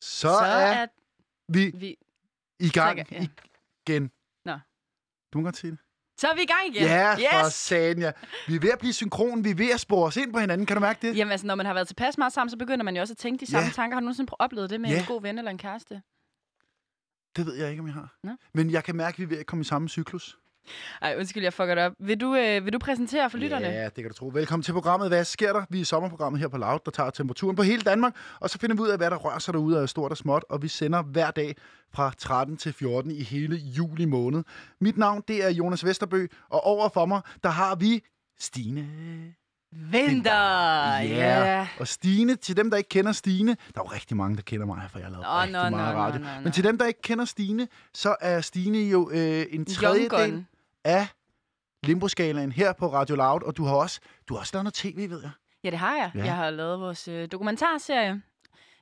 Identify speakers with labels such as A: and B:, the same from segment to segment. A: Så, så er, er vi
B: vi...
A: i gang
B: Trykker, ja.
A: igen.
B: Nå.
A: Du må godt sige det.
B: Så er vi i gang igen.
A: Ja, yes, for
B: yes!
A: satan, ja. Vi er ved at blive synkron. Vi er ved at spore os ind på hinanden. Kan du mærke det?
B: Jamen altså, når man har været tilpas meget sammen, så begynder man jo også at tænke de samme
A: Ja.
B: tanker. Har du nogensinde prø- oplevet det med
A: Ja.
B: en god ven eller en kæreste?
A: Det ved jeg ikke, om jeg har.
B: Nå.
A: Men jeg kan mærke, at vi er ved at komme i samme cyklus.
B: Ej, undskyld, jeg fucker det op. Vil du, øh, vil du præsentere for lytterne?
A: Ja, det kan du tro. Velkommen til programmet. Hvad sker der? Vi er i sommerprogrammet her på Loud, der tager temperaturen på hele Danmark. Og så finder vi ud af, hvad der rører sig derude af stort og småt. Og vi sender hver dag fra 13 til 14 i hele juli måned. Mit navn, det er Jonas Vesterbø. Og over for mig, der har vi Stine.
B: Vinter!
A: Ja, yeah. og Stine, til dem, der ikke kender Stine, der er jo rigtig mange, der kender mig, for jeg har lavet
B: Åh,
A: rigtig
B: nå, nå,
A: meget
B: nå,
A: radio.
B: nå, nå.
A: Men til dem, der ikke kender Stine, så er Stine jo øh, en tredjedel
B: Young
A: af limboskalaen her på Radio Loud, og du har også, du har også lavet noget tv, ved jeg.
B: Ja, det har jeg.
A: Ja.
B: Ja. Jeg har lavet vores øh, dokumentarserie,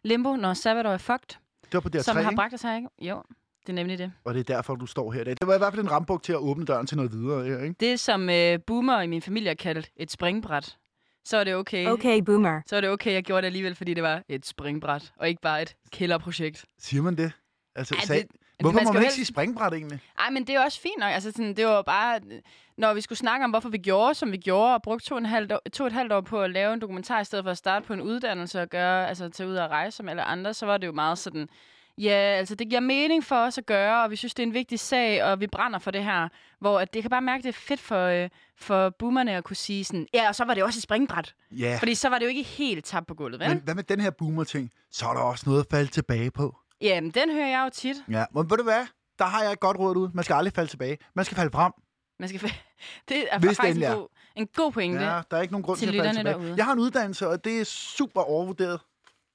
B: Limbo, når Sabbatår er fucked,
A: Det var på DR3,
B: som har
A: ikke?
B: bragt os her, ikke? Jo, det er nemlig det.
A: og det er derfor, du står her i dag. Det var i hvert fald en rambuk til at åbne døren til noget videre her, ikke?
B: Det, som øh, boomer i min familie har kaldt et springbræt, så er det okay.
C: Okay, boomer.
B: Så er det okay, jeg gjorde det alligevel, fordi det var et springbræt, og ikke bare et kælderprojekt.
A: Siger man det? Altså,
B: Ej,
A: ja, sag,
B: det-
A: hvorfor
B: man
A: må
B: skal
A: man
B: jo
A: ikke
B: helst-
A: sige springbræt egentlig?
B: Ej, men det er også fint nok. Altså, sådan, det var bare, øh, når vi skulle snakke om, hvorfor vi gjorde, som vi gjorde, og brugte to og, en halv år, to og et halvt år på at lave en dokumentar, i stedet for at starte på en uddannelse og gøre, altså, tage ud og rejse som alle andre, så var det jo meget sådan, ja, altså, det giver mening for os at gøre, og vi synes, det er en vigtig sag, og vi brænder for det her. Hvor at det jeg kan bare mærke, det er fedt for, øh, for boomerne at kunne sige sådan, ja, og så var det også et springbræt.
A: Ja,
B: Fordi så var det jo ikke helt tabt på gulvet, vel?
A: men hvad med den her boomer-ting? Så er der også noget at falde tilbage på.
B: Jamen, den hører jeg jo tit.
A: Ja, men ved du hvad? Der har jeg et godt råd ud. Man skal aldrig falde tilbage. Man skal falde frem.
B: Man skal... det er
A: Hvis det
B: faktisk
A: endelig er.
B: en god, en god pointe.
A: Ja, der er ikke nogen grund til,
B: Til
A: til at falde
B: lytterne
A: tilbage. Derude.
B: derude.
A: Jeg har en uddannelse, og det er super overvurderet.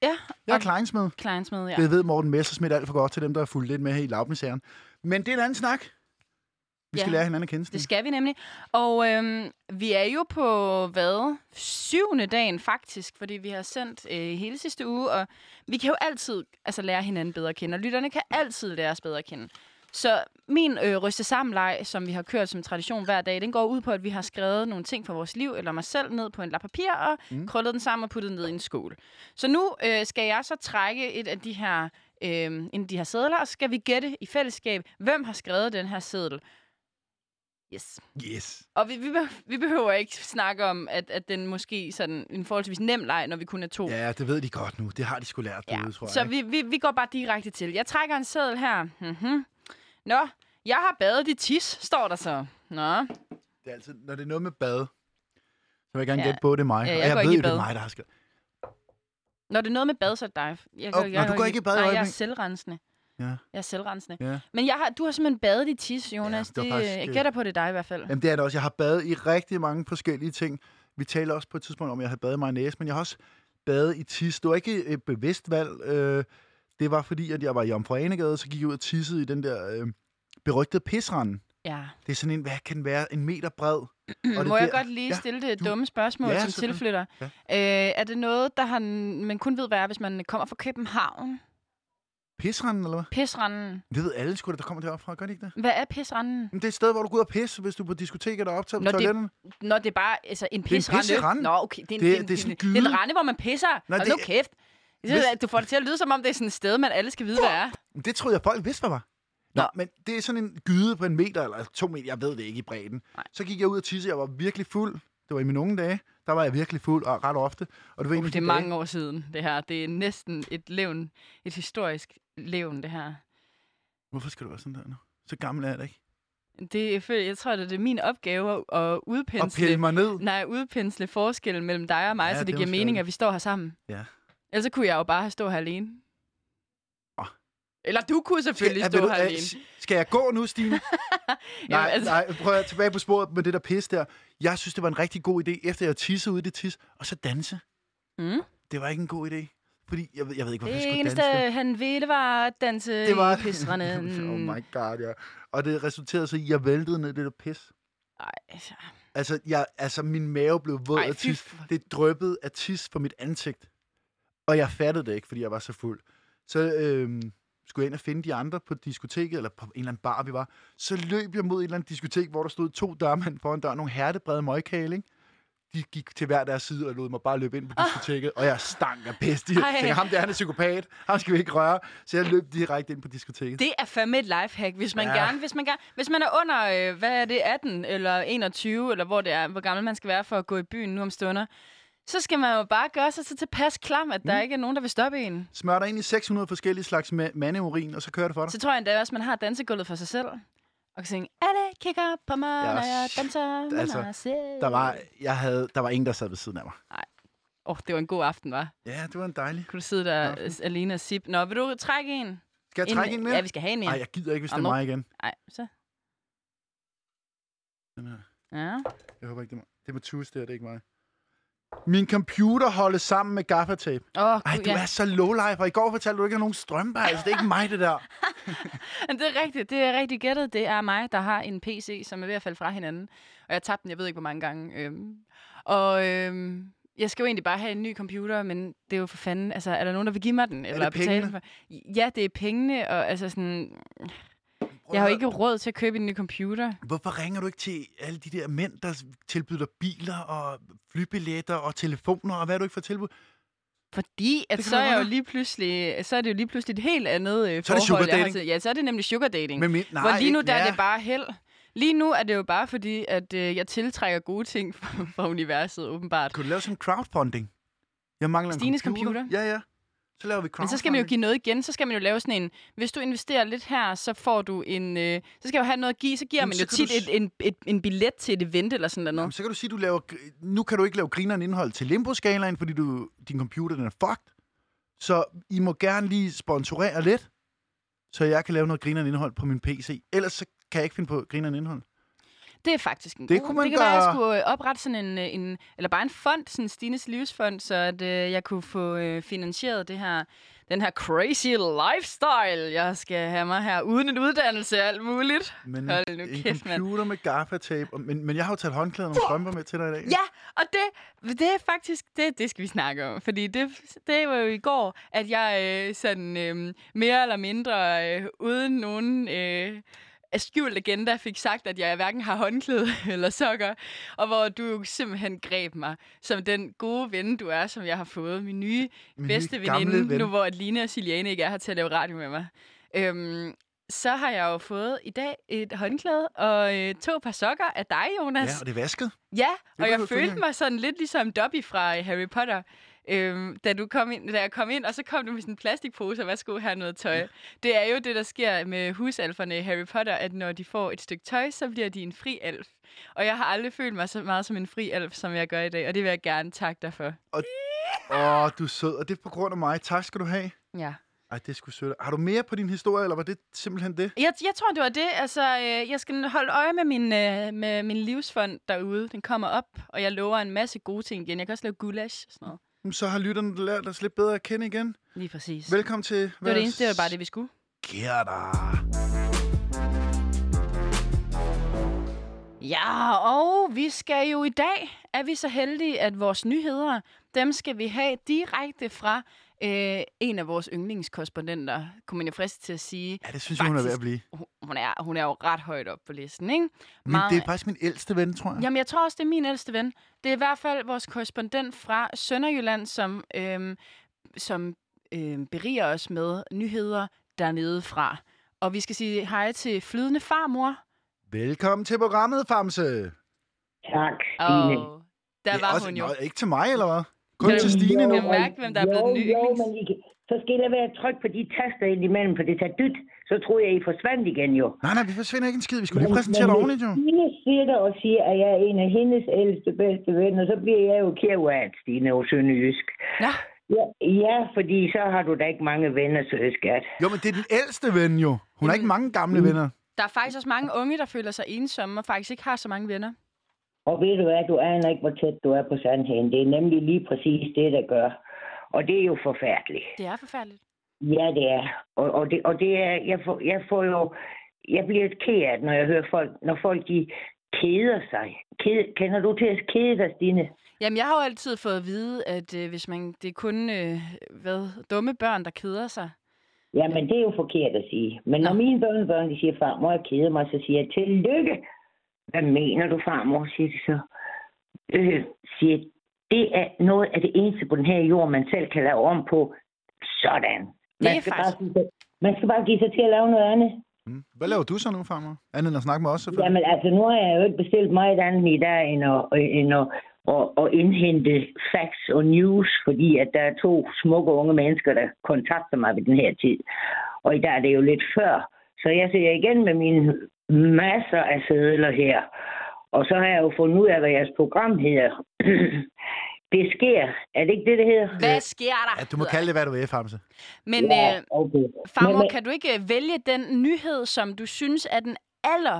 B: ja
A: Jeg er
B: Og-
A: kleinsmed.
B: Kleins med, ja.
A: Det ved Morten Messersmith alt for godt til dem, der har fulgt lidt med her i lavmisæren. Men det er en anden snak. Vi skal
B: Ja.
A: lære hinanden at kende.
B: Det
A: Stine.
B: skal vi nemlig. Og øhm, vi er jo på, hvad, syvende dagen faktisk, fordi vi har sendt øh, hele sidste uge, og vi kan jo altid altså, lære hinanden bedre at kende, og lytterne kan altid lære os bedre at kende. Så min øh, ryste sammenleg, som vi har kørt som tradition hver dag, den går ud på, at vi har skrevet nogle ting fra vores liv, eller mig selv, ned på en lap papir, og mm. krøllet den sammen og puttet den ned i en skål. Så nu øh, skal jeg så trække et af de her, øh, en af de her sædler, og så skal vi gætte i fællesskab, hvem har skrevet den her seddel. Yes.
A: Yes.
B: Og vi, vi, beh- vi behøver ikke snakke om, at, at den måske sådan en forholdsvis nem leg, når vi kun er to.
A: Ja, det ved de godt nu. Det har de sgu lært derude, tror jeg.
B: Så vi, vi, vi går bare direkte til. Jeg trækker en seddel her. Mm-hmm. Nå, jeg har badet i tis, står der så. Nå,
A: Det er altid, når det er noget med bad, så vil jeg gerne
B: Ja.
A: gætte på, at det er mig.
B: Ja,
A: Og
B: jeg går
A: jeg
B: ikke
A: ved
B: i
A: jo, det er
B: bad.
A: mig, der har skrevet.
B: når det er noget med bad, så er det dig. Jeg,
A: Åh, nå, du går ikke i bad i
B: Nej, jeg er
A: øjeblikket.
B: selvrensende.
A: Ja.
B: Jeg er selvrensende.
A: Ja.
B: Men jeg har, du har simpelthen badet i tis, Jonas.
A: det var
B: det,
A: faktisk,
B: jeg
A: øh,
B: gætter på, det er dig i hvert fald.
A: Jamen, det er det også. Jeg har badet i rigtig mange forskellige ting. Vi taler også på et tidspunkt om, at jeg har badet i mayonnaise, men jeg har også badet i tis. Det var ikke et bevidst valg. Øh, det var fordi, at jeg var i Jomfru Anegade, så gik jeg ud og tissede i den der øh, berygtede pisrand.
B: Ja.
A: Det er sådan en, hvad kan den være, en meter bred. Og det er
B: Må jeg
A: der-
B: godt lige
A: Ja.
B: stille det
A: du-
B: dumme spørgsmål
A: Ja,
B: som
A: selvfølgelig.
B: tilflytter?
A: Ja.
B: Øh, er det noget, der har, man kun ved, hvad er, hvis man kommer fra København?
A: Pisranden, eller hvad?
B: Pisranden.
A: Det ved alle sgu, da, der kommer deroppe fra, gør de ikke det?
B: Hvad er pisranden?
A: Men det er et sted, hvor du går ud og pisse, hvis du er på diskoteker, der er optaget på
B: Nå, det-
A: toiletterne.
B: Nå, det er bare altså, en
A: er en
B: pisrande.
A: pisserende.
B: Nå, okay. Det er, en,
A: Det er-
B: en,
A: det er sådan en
B: det er
A: gyde.
B: en rende, hvor man pisser.
A: Nej,
B: Nej,
A: det
B: det, nu
A: er-
B: kæft. Jeg synes,
A: Hvis-
B: at Du får det til at lyde, som om det er sådan et sted, man alle skal vide, hvad er.
A: Men Det troede jeg, folk vidste, hvad var. Nå,
B: Nå.
A: men det er sådan en gyde på en meter eller to meter, jeg ved det ikke i bredden.
B: Nej.
A: Så gik jeg ud og tisse, jeg var virkelig fuld. Det var i mine unge dage, der var jeg virkelig fuld og ret ofte. Og det var en
B: Uh,
A: af
B: det
A: de
B: er
A: dage-
B: mange år siden, det her. Det er næsten et levn, et historisk levn, det her.
A: Hvorfor skal du være sådan der nu? Så gammel er jeg da ikke.
B: Det, jeg, føler, jeg tror, det er min opgave at
A: Og pille
B: udpensle,
A: mig ned.
B: nej, udpensle forskellen mellem dig og mig,
A: Ja,
B: ja, så det,
A: det er
B: det giver
A: måske
B: mening,
A: rigtigt.
B: at vi står her sammen.
A: Ja.
B: Ellers så kunne jeg jo bare stå her alene.
A: Åh.
B: Eller du kunne selvfølgelig
A: er-
B: stå
A: vil du-
B: her
A: er-
B: alene.
A: Skal jeg gå nu, Stine? nej,
B: altså-
A: nej, prøv at tilbage på sporet med det der pis der. Jeg synes, det var en rigtig god idé, efter jeg tissede ud i det tis, og så danse.
B: Mm.
A: Det var ikke en god idé. Fordi jeg ved, jeg ved ikke, hvorfor jeg
B: Det
A: skulle
B: eneste,
A: danse.
B: han ville, var at danse
A: Det var...
B: i pisrende.
A: oh my god, ja. Og det resulterede så i, at jeg væltede ned i det der pis.
B: Ej, altså.
A: Altså, jeg, altså min mave blev våd
B: Ej,
A: af
B: fy
A: tis.
B: for-
A: Det dryppede af tis på mit ansigt. Og jeg fattede det ikke, fordi jeg var så fuld. Så øhm, skulle jeg ind og finde de andre på diskoteket, eller på en eller anden bar, vi var. Så løb jeg mod et eller andet diskotek, hvor der stod to dørmænd foran døren, nogle hertebrede møgkale, ikke? de gik til hver deres side og lod mig bare løbe ind på diskoteket, og jeg stank af pest. Jeg
B: Ah. Ej.
A: tænkte, ham der han er psykopat, ham skal vi ikke røre. Så jeg løb direkte ind på diskoteket.
B: Det er fandme et lifehack, hvis man
A: Ja.
B: ja. gerne, hvis man gerne, hvis man er under, øh, hvad er det, 18 eller 21, eller hvor det er, hvor gammel man skal være for at gå i byen nu om stunder, så skal man jo bare gøre sig så tilpas klam, at der
A: Mm.
B: ikke er nogen, der vil stoppe en.
A: Smør dig ind i 600 forskellige slags ma- mandeurin, og så kører det for dig.
B: Så tror jeg endda også, at man har dansegulvet for sig selv. Og kan synge, alle kigger på mig,
A: Ja,
B: når jeg
A: shit.
B: danser med
A: Altså,
B: mig selv.
A: Der var, jeg havde, der var ingen, der sad ved siden af mig.
B: Åh, oh, det var en god aften, var.
A: Ja, det var en dejlig.
B: Kunne du sidde der øh, alene og sip? Nå, vil du trække en?
A: Skal jeg trække en mere?
B: Ja, vi skal have en
A: Nej,
B: mere.
A: jeg gider ikke, hvis det er
B: Nå, nu.
A: mig igen.
B: Nej, så.
A: Den her.
B: Ja.
A: Jeg håber ikke, det er mig. Det er Mathus, det her, det er ikke mig. Min computer holdes sammen med gaffatape.
B: Åh,
A: Ej,
B: gud,
A: du
B: ja.
A: er så lowlife, og i går fortalte du ikke, at nogen strømper. Altså, det er ikke mig, det der.
B: Men det er rigtigt. Det er rigtig gættet. Det er mig, der har en PC, som er ved at falde fra hinanden. Og jeg tabte den, jeg ved ikke, hvor mange gange. Øhm. Og øhm, jeg skal jo egentlig bare have en ny computer, men det er jo for fanden... Altså, er der nogen, der vil give mig den?
A: det pengene?
B: for? Ja, det er pengene, og altså sådan... Jeg har jo ikke råd til at købe en ny computer.
A: Hvorfor ringer du ikke til alle de der mænd, der tilbyder dig biler og flybilletter og telefoner, og hvad du ikke får tilbud?
B: Fordi at
A: Det kan
B: så
A: man
B: er
A: godt
B: jeg jo
A: nok.
B: lige pludselig, så er det jo lige pludselig et helt andet øh,
A: Så er det sugar
B: forhold, jeg har
A: dating.
B: til. Ja, så er det nemlig sugar dating.
A: Men min, nej,
B: Nej, Hvor lige nu,
A: ikke-
B: der
A: ja.
B: er det bare held. Lige nu er det jo bare fordi, at øh, jeg tiltrækker gode ting fra, fra universet, åbenbart.
A: Kunne du lave sådan en crowdfunding? Jeg mangler
B: Stines
A: en computer.
B: computer?
A: Ja, ja. Så laver vi crowdfunding.
B: Men så skal man jo give noget igen. Så skal man jo lave sådan en, hvis du investerer lidt her, så får du en... Øh, så skal jeg jo have noget at give. Så giver
A: Jamen,
B: man
A: så
B: jo
A: kan
B: tit
A: du s-
B: et, en, et, en billet til et event eller sådan
A: Jamen,
B: noget.
A: så kan du sige, du laver... gr- Nu kan du ikke lave grineren indhold til limbo-skalaen, fordi du, din computer den er fucked. Så I må gerne lige sponsorere lidt, så jeg kan lave noget grineren indhold på min PC. Ellers så kan jeg ikke finde på grineren indhold.
B: Det er faktisk en
A: Det
B: god.
A: kunne man
B: det kan være, at
A: da-
B: jeg skulle øh, oprette sådan en, øh, en... Eller bare en fond, sådan en Stines Livsfond, så at, øh, jeg kunne få øh, finansieret det her, den her crazy lifestyle, jeg skal have mig her, uden en uddannelse og alt muligt.
A: Men
B: Hold
A: en,
B: nu
A: en
B: kæft, mand.
A: computer med gaffatape. og- Men, men jeg har jo taget håndklæder og nogle strømper med til dig i dag.
B: Ja, og det, det er faktisk, det, det skal vi snakke om, fordi det, det var jo i går, at jeg øh, sådan øh, mere eller mindre øh, uden nogen øh, skjult agenda fik sagt, at jeg hverken har håndklæde eller sokker, og hvor du jo simpelthen greb mig som den gode ven, du er, som jeg har fået, min nye
A: Min nye
B: bedste
A: gamle
B: veninde,
A: ven.
B: nu hvor at Line og Siliane ikke er her til at lave radio med mig. Øhm, så har jeg jo fået i dag et håndklæde og øh, to par sokker af dig, Jonas.
A: Ja, og det er vasket.
B: Ja, og jeg
A: behøver du ikke
B: følte
A: engang.
B: mig sådan lidt ligesom Dobby fra øh, Harry Potter, øhm, da, du kom ind, da jeg kom ind, og så kom du med sådan en plastikpose, og hvad skulle have noget tøj. Det er jo det, der sker med husalferne i Harry Potter, at når de får et stykke tøj, så bliver de en fri alf. Og jeg har aldrig følt mig så meget som en fri alf, som jeg gør i dag, og det vil jeg gerne takke dig for.
A: Åh, du er sød. Og det er på grund af mig. Tak skal du have.
B: Ja.
A: Ej, det skulle sødt. Har du mere på din historie, eller var det simpelthen det?
B: Jeg, jeg tror, det var det. Altså, øh, jeg skal holde øje med min, øh, med min livsfond derude. Den kommer op, og jeg lover en masse gode ting igen. Jeg kan også lave gulasch og sådan noget.
A: Jamen, Så har lytterne lært os lidt bedre at kende igen.
B: Lige præcis. Det
A: Velkommen til... Det
B: var det eneste, det var bare det, vi skulle.
A: Sker der.
B: Ja, og vi skal jo i dag, er vi så heldige, at vores nyheder, dem skal vi have direkte fra øh, en af vores yndlingskorrespondenter, kunne man jo friste til at sige.
A: Ja, det synes jeg, hun er ved at
B: Faktisk.
A: blive.
B: Hun- Hun er, hun er jo ret højt op på listen, ikke?
A: Men
B: Meget-
A: det er faktisk min ældste ven, tror jeg.
B: Jamen, jeg tror også, det er min ældste ven. Det er i hvert fald vores korrespondent fra Sønderjylland, som, øhm, som øhm, beriger os med nyheder dernede fra. Og vi skal sige hej til flydende farmor.
A: Velkommen til programmet, Famse.
C: Tak,
B: Oh.
C: Stine.
B: Og der
A: Det er
B: var
A: også-
B: hun jo.
A: Nå, ikke til mig, eller hvad? Kun
B: Jo,
A: til Stine nu.
B: jo. kan mærke, hvem der er blevet den nye
C: Jo,
B: yndlings.
C: men I kan, så skal I lade være at trykke på de taster ind imellem, for det tager dyt. Så tror jeg, I forsvandt igen jo.
A: Nej, nej, vi forsvinder ikke en skid. Vi skulle lige præsentere dig ordentligt, jo.
C: Stine siger det og siger, at jeg er en af hendes ældste bedste venner, så bliver jeg jo kærevært, Stine, og sønderjysk.
B: Nå,
C: Ja, ja, fordi så har du da ikke mange venner, så skat.
A: Jo, men det er den ældste ven, jo. Hun har ikke
B: Mm.
A: mange gamle
C: Mm.
A: venner.
B: der er faktisk også mange unge, der føler sig ensomme og faktisk ikke har så mange venner.
C: Og ved du hvad, du aner ikke, hvor tæt du er på sandheden. Det er nemlig lige præcis det, der gør. Og det er jo forfærdeligt.
B: Det er forfærdeligt.
C: Ja, det er. Og, og, det, og det er, jeg får, jeg får jo, jeg bliver ked af det, når jeg hører folk, når folk de keder sig. Ked, kender du til at kede dig, Stine?
B: Jamen, jeg har jo altid fået at vide, at øh, hvis man, det er kun øh, hvad, dumme børn, der keder sig.
C: Jamen, det er jo forkert at sige. Men når mine børnebørn, de siger, farmor, jeg keder mig, så siger jeg, tillykke. Hvad mener du, farmor, siger de så. øh, siger, det er noget af det eneste på den her jord, man selv kan lave om på. Sådan. Man
B: er
C: skal,
B: faktisk-
C: bare, give sig- man skal bare give sig til at lave noget andet.
A: Mm. Hvad laver du så nu, farmor? Andet end at snakke med os, selvfølgelig.
C: Jamen altså, nu har jeg jo ikke bestilt meget andet i dag, end at, end at, at, at indhente facts og news, fordi at der er to smukke unge mennesker, der kontakter mig ved den her tid. Og i dag er det jo lidt før, så jeg ser igen med mine masser af sædler her. Og så har jeg jo fundet ud af, hvad jeres program hedder. det sker. Er det ikke det, det hedder?
B: Hvad sker der?
A: Ja, du må
C: altså.
B: hedder
A: kalde det, hvad du vil, Famse.
B: det. Men
C: Ja,
B: øh,
C: okay. Men-
B: farmor,
C: men-
B: kan du ikke øh, vælge den nyhed, som du synes er den aller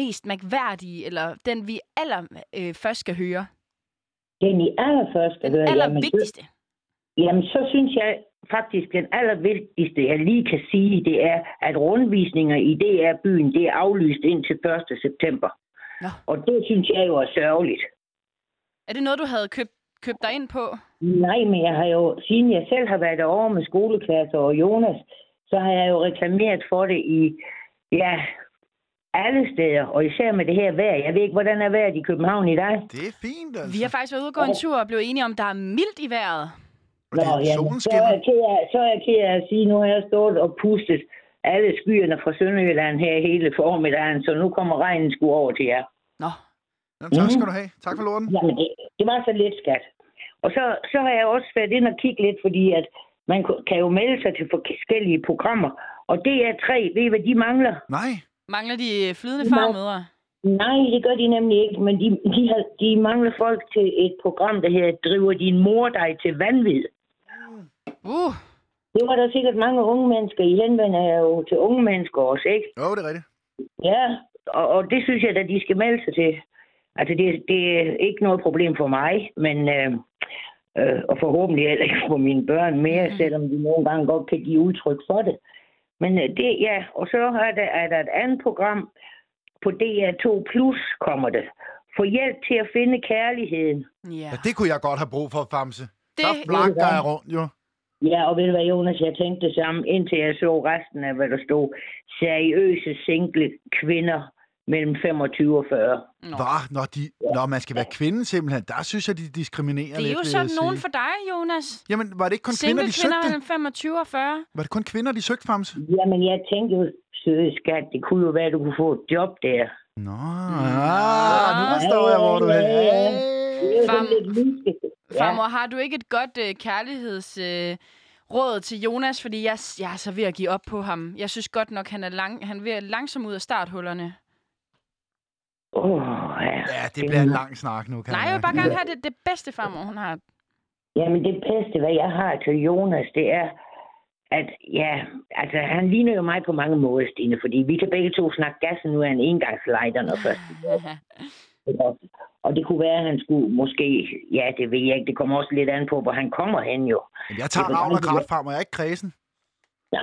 B: mest mærkværdige, eller den, vi aller øh, først skal høre?
C: Den I allerførst skal
B: Den
C: høre, jamen, det-
B: allervigtigste.
C: Jamen, så synes jeg faktisk, den allervigtigste, jeg lige kan sige, det er, at rundvisninger i DR-byen, det er aflyst indtil 1. september.
B: Nå.
C: Og det synes jeg jo er sørgeligt.
B: Er det noget, du havde købt, købt dig ind på?
C: Nej, men jeg har jo, siden jeg selv har været over med skoleklasser og Jonas, så har jeg jo reklameret for det i, ja, alle steder, og især med det her vejr. Jeg ved ikke, hvordan er vejret i København i dag?
A: Det er fint, altså.
B: Vi har faktisk været ude og gå en tur og blevet enige om, der er mildt i vejret.
A: Og det er solen
C: jamen, så er,
A: skinner.
C: jeg ked af, så er jeg ked af at sige, nu har jeg stået og pustet alle skyerne fra Sønderjylland her hele formiddagen, så nu kommer regnen sgu over til jer.
B: Nå,
A: Jamen, tak
C: Mm.
A: skal du have. Tak for lorten.
C: Jamen, det, det var så lidt, skat. Og så, så har jeg også været ind og kigge lidt, fordi at man ku- kan jo melde sig til forskellige programmer, og DR3, ved I, hvad de mangler?
A: Nej.
B: mangler de øh, flydende
C: Nå.
B: farmødre?
C: Nej, det gør de nemlig ikke, men de, de, har, de mangler folk til et program, der hedder Driver din mor dig til vanvid.
B: Uh,
C: Det var der sikkert mange unge mennesker. I henvender jer jo til unge mennesker også, ikke?
A: Jo, det er rigtigt.
C: Ja, og, og det synes jeg, at de skal melde sig til. Altså, det, det er ikke noget problem for mig, men øh, øh, og forhåbentlig heller ikke for mine børn mere, mm. selvom de nogle gange godt kan give udtryk for det. Men øh, det, ja, og så er der, er der et andet program på DR2+, Plus kommer det. Få hjælp til at finde kærligheden.
B: ja.
A: Ja, det kunne jeg godt have brug for, Famse. Det...
B: Det-
A: Der flakker jeg rundt, jo.
C: Ja, og ved du hvad, Jonas, jeg tænkte det samme, indtil jeg så resten af, hvad der stod. Seriøse single kvinder mellem 25 og 40.
B: Nå.
A: Hva? Når, de... Når man skal være kvinde, simpelthen. Der synes jeg, de diskriminerer
B: Det er
A: lidt.
B: jo
A: vil
B: sådan
A: jeg
B: nogen
A: sige.
B: for dig, Jonas.
A: Jamen, var det ikke kun kvinder,
B: Single
A: de
B: kvinder
A: søgte?
B: mellem 25 og 40.
A: Var det kun kvinder, de søgte, Famse?
C: Jamen, jeg tænkte jo, søde skat, det kunne jo være, at du kunne få et job der.
A: Nå, ja, nu forstår jeg, hvor du er.
C: Ja, ja, ja. Det er jo sådan
B: Fam-
C: lidt mystisk.
B: Farmor, har du ikke et godt øh, kærlighedsråd øh, råd til Jonas? Fordi jeg, jeg er så ved at give op på ham. Jeg synes godt nok, han er, lang, han er ved at langsomt ud af starthullerne.
C: Åh, ja.
A: Ja, det bliver en lang snak nu, kan
B: Nej, jeg vil
A: mærke.
B: bare gerne have det, det bedste, farmor, hun har.
C: Jamen, det bedste, hvad jeg har til Jonas, det er, at ja, altså, han ligner jo mig på mange måder, Stine, fordi vi kan begge to snakke gassen nu af en engangslighter, når først Ikke? Og det kunne være, at han skulle måske... Ja, det ved jeg ikke. Det kommer også lidt an på, hvor han kommer hen jo.
A: Men Jeg tager Ravn og Krat frem, og jeg er ikke kredsen.
C: Ja.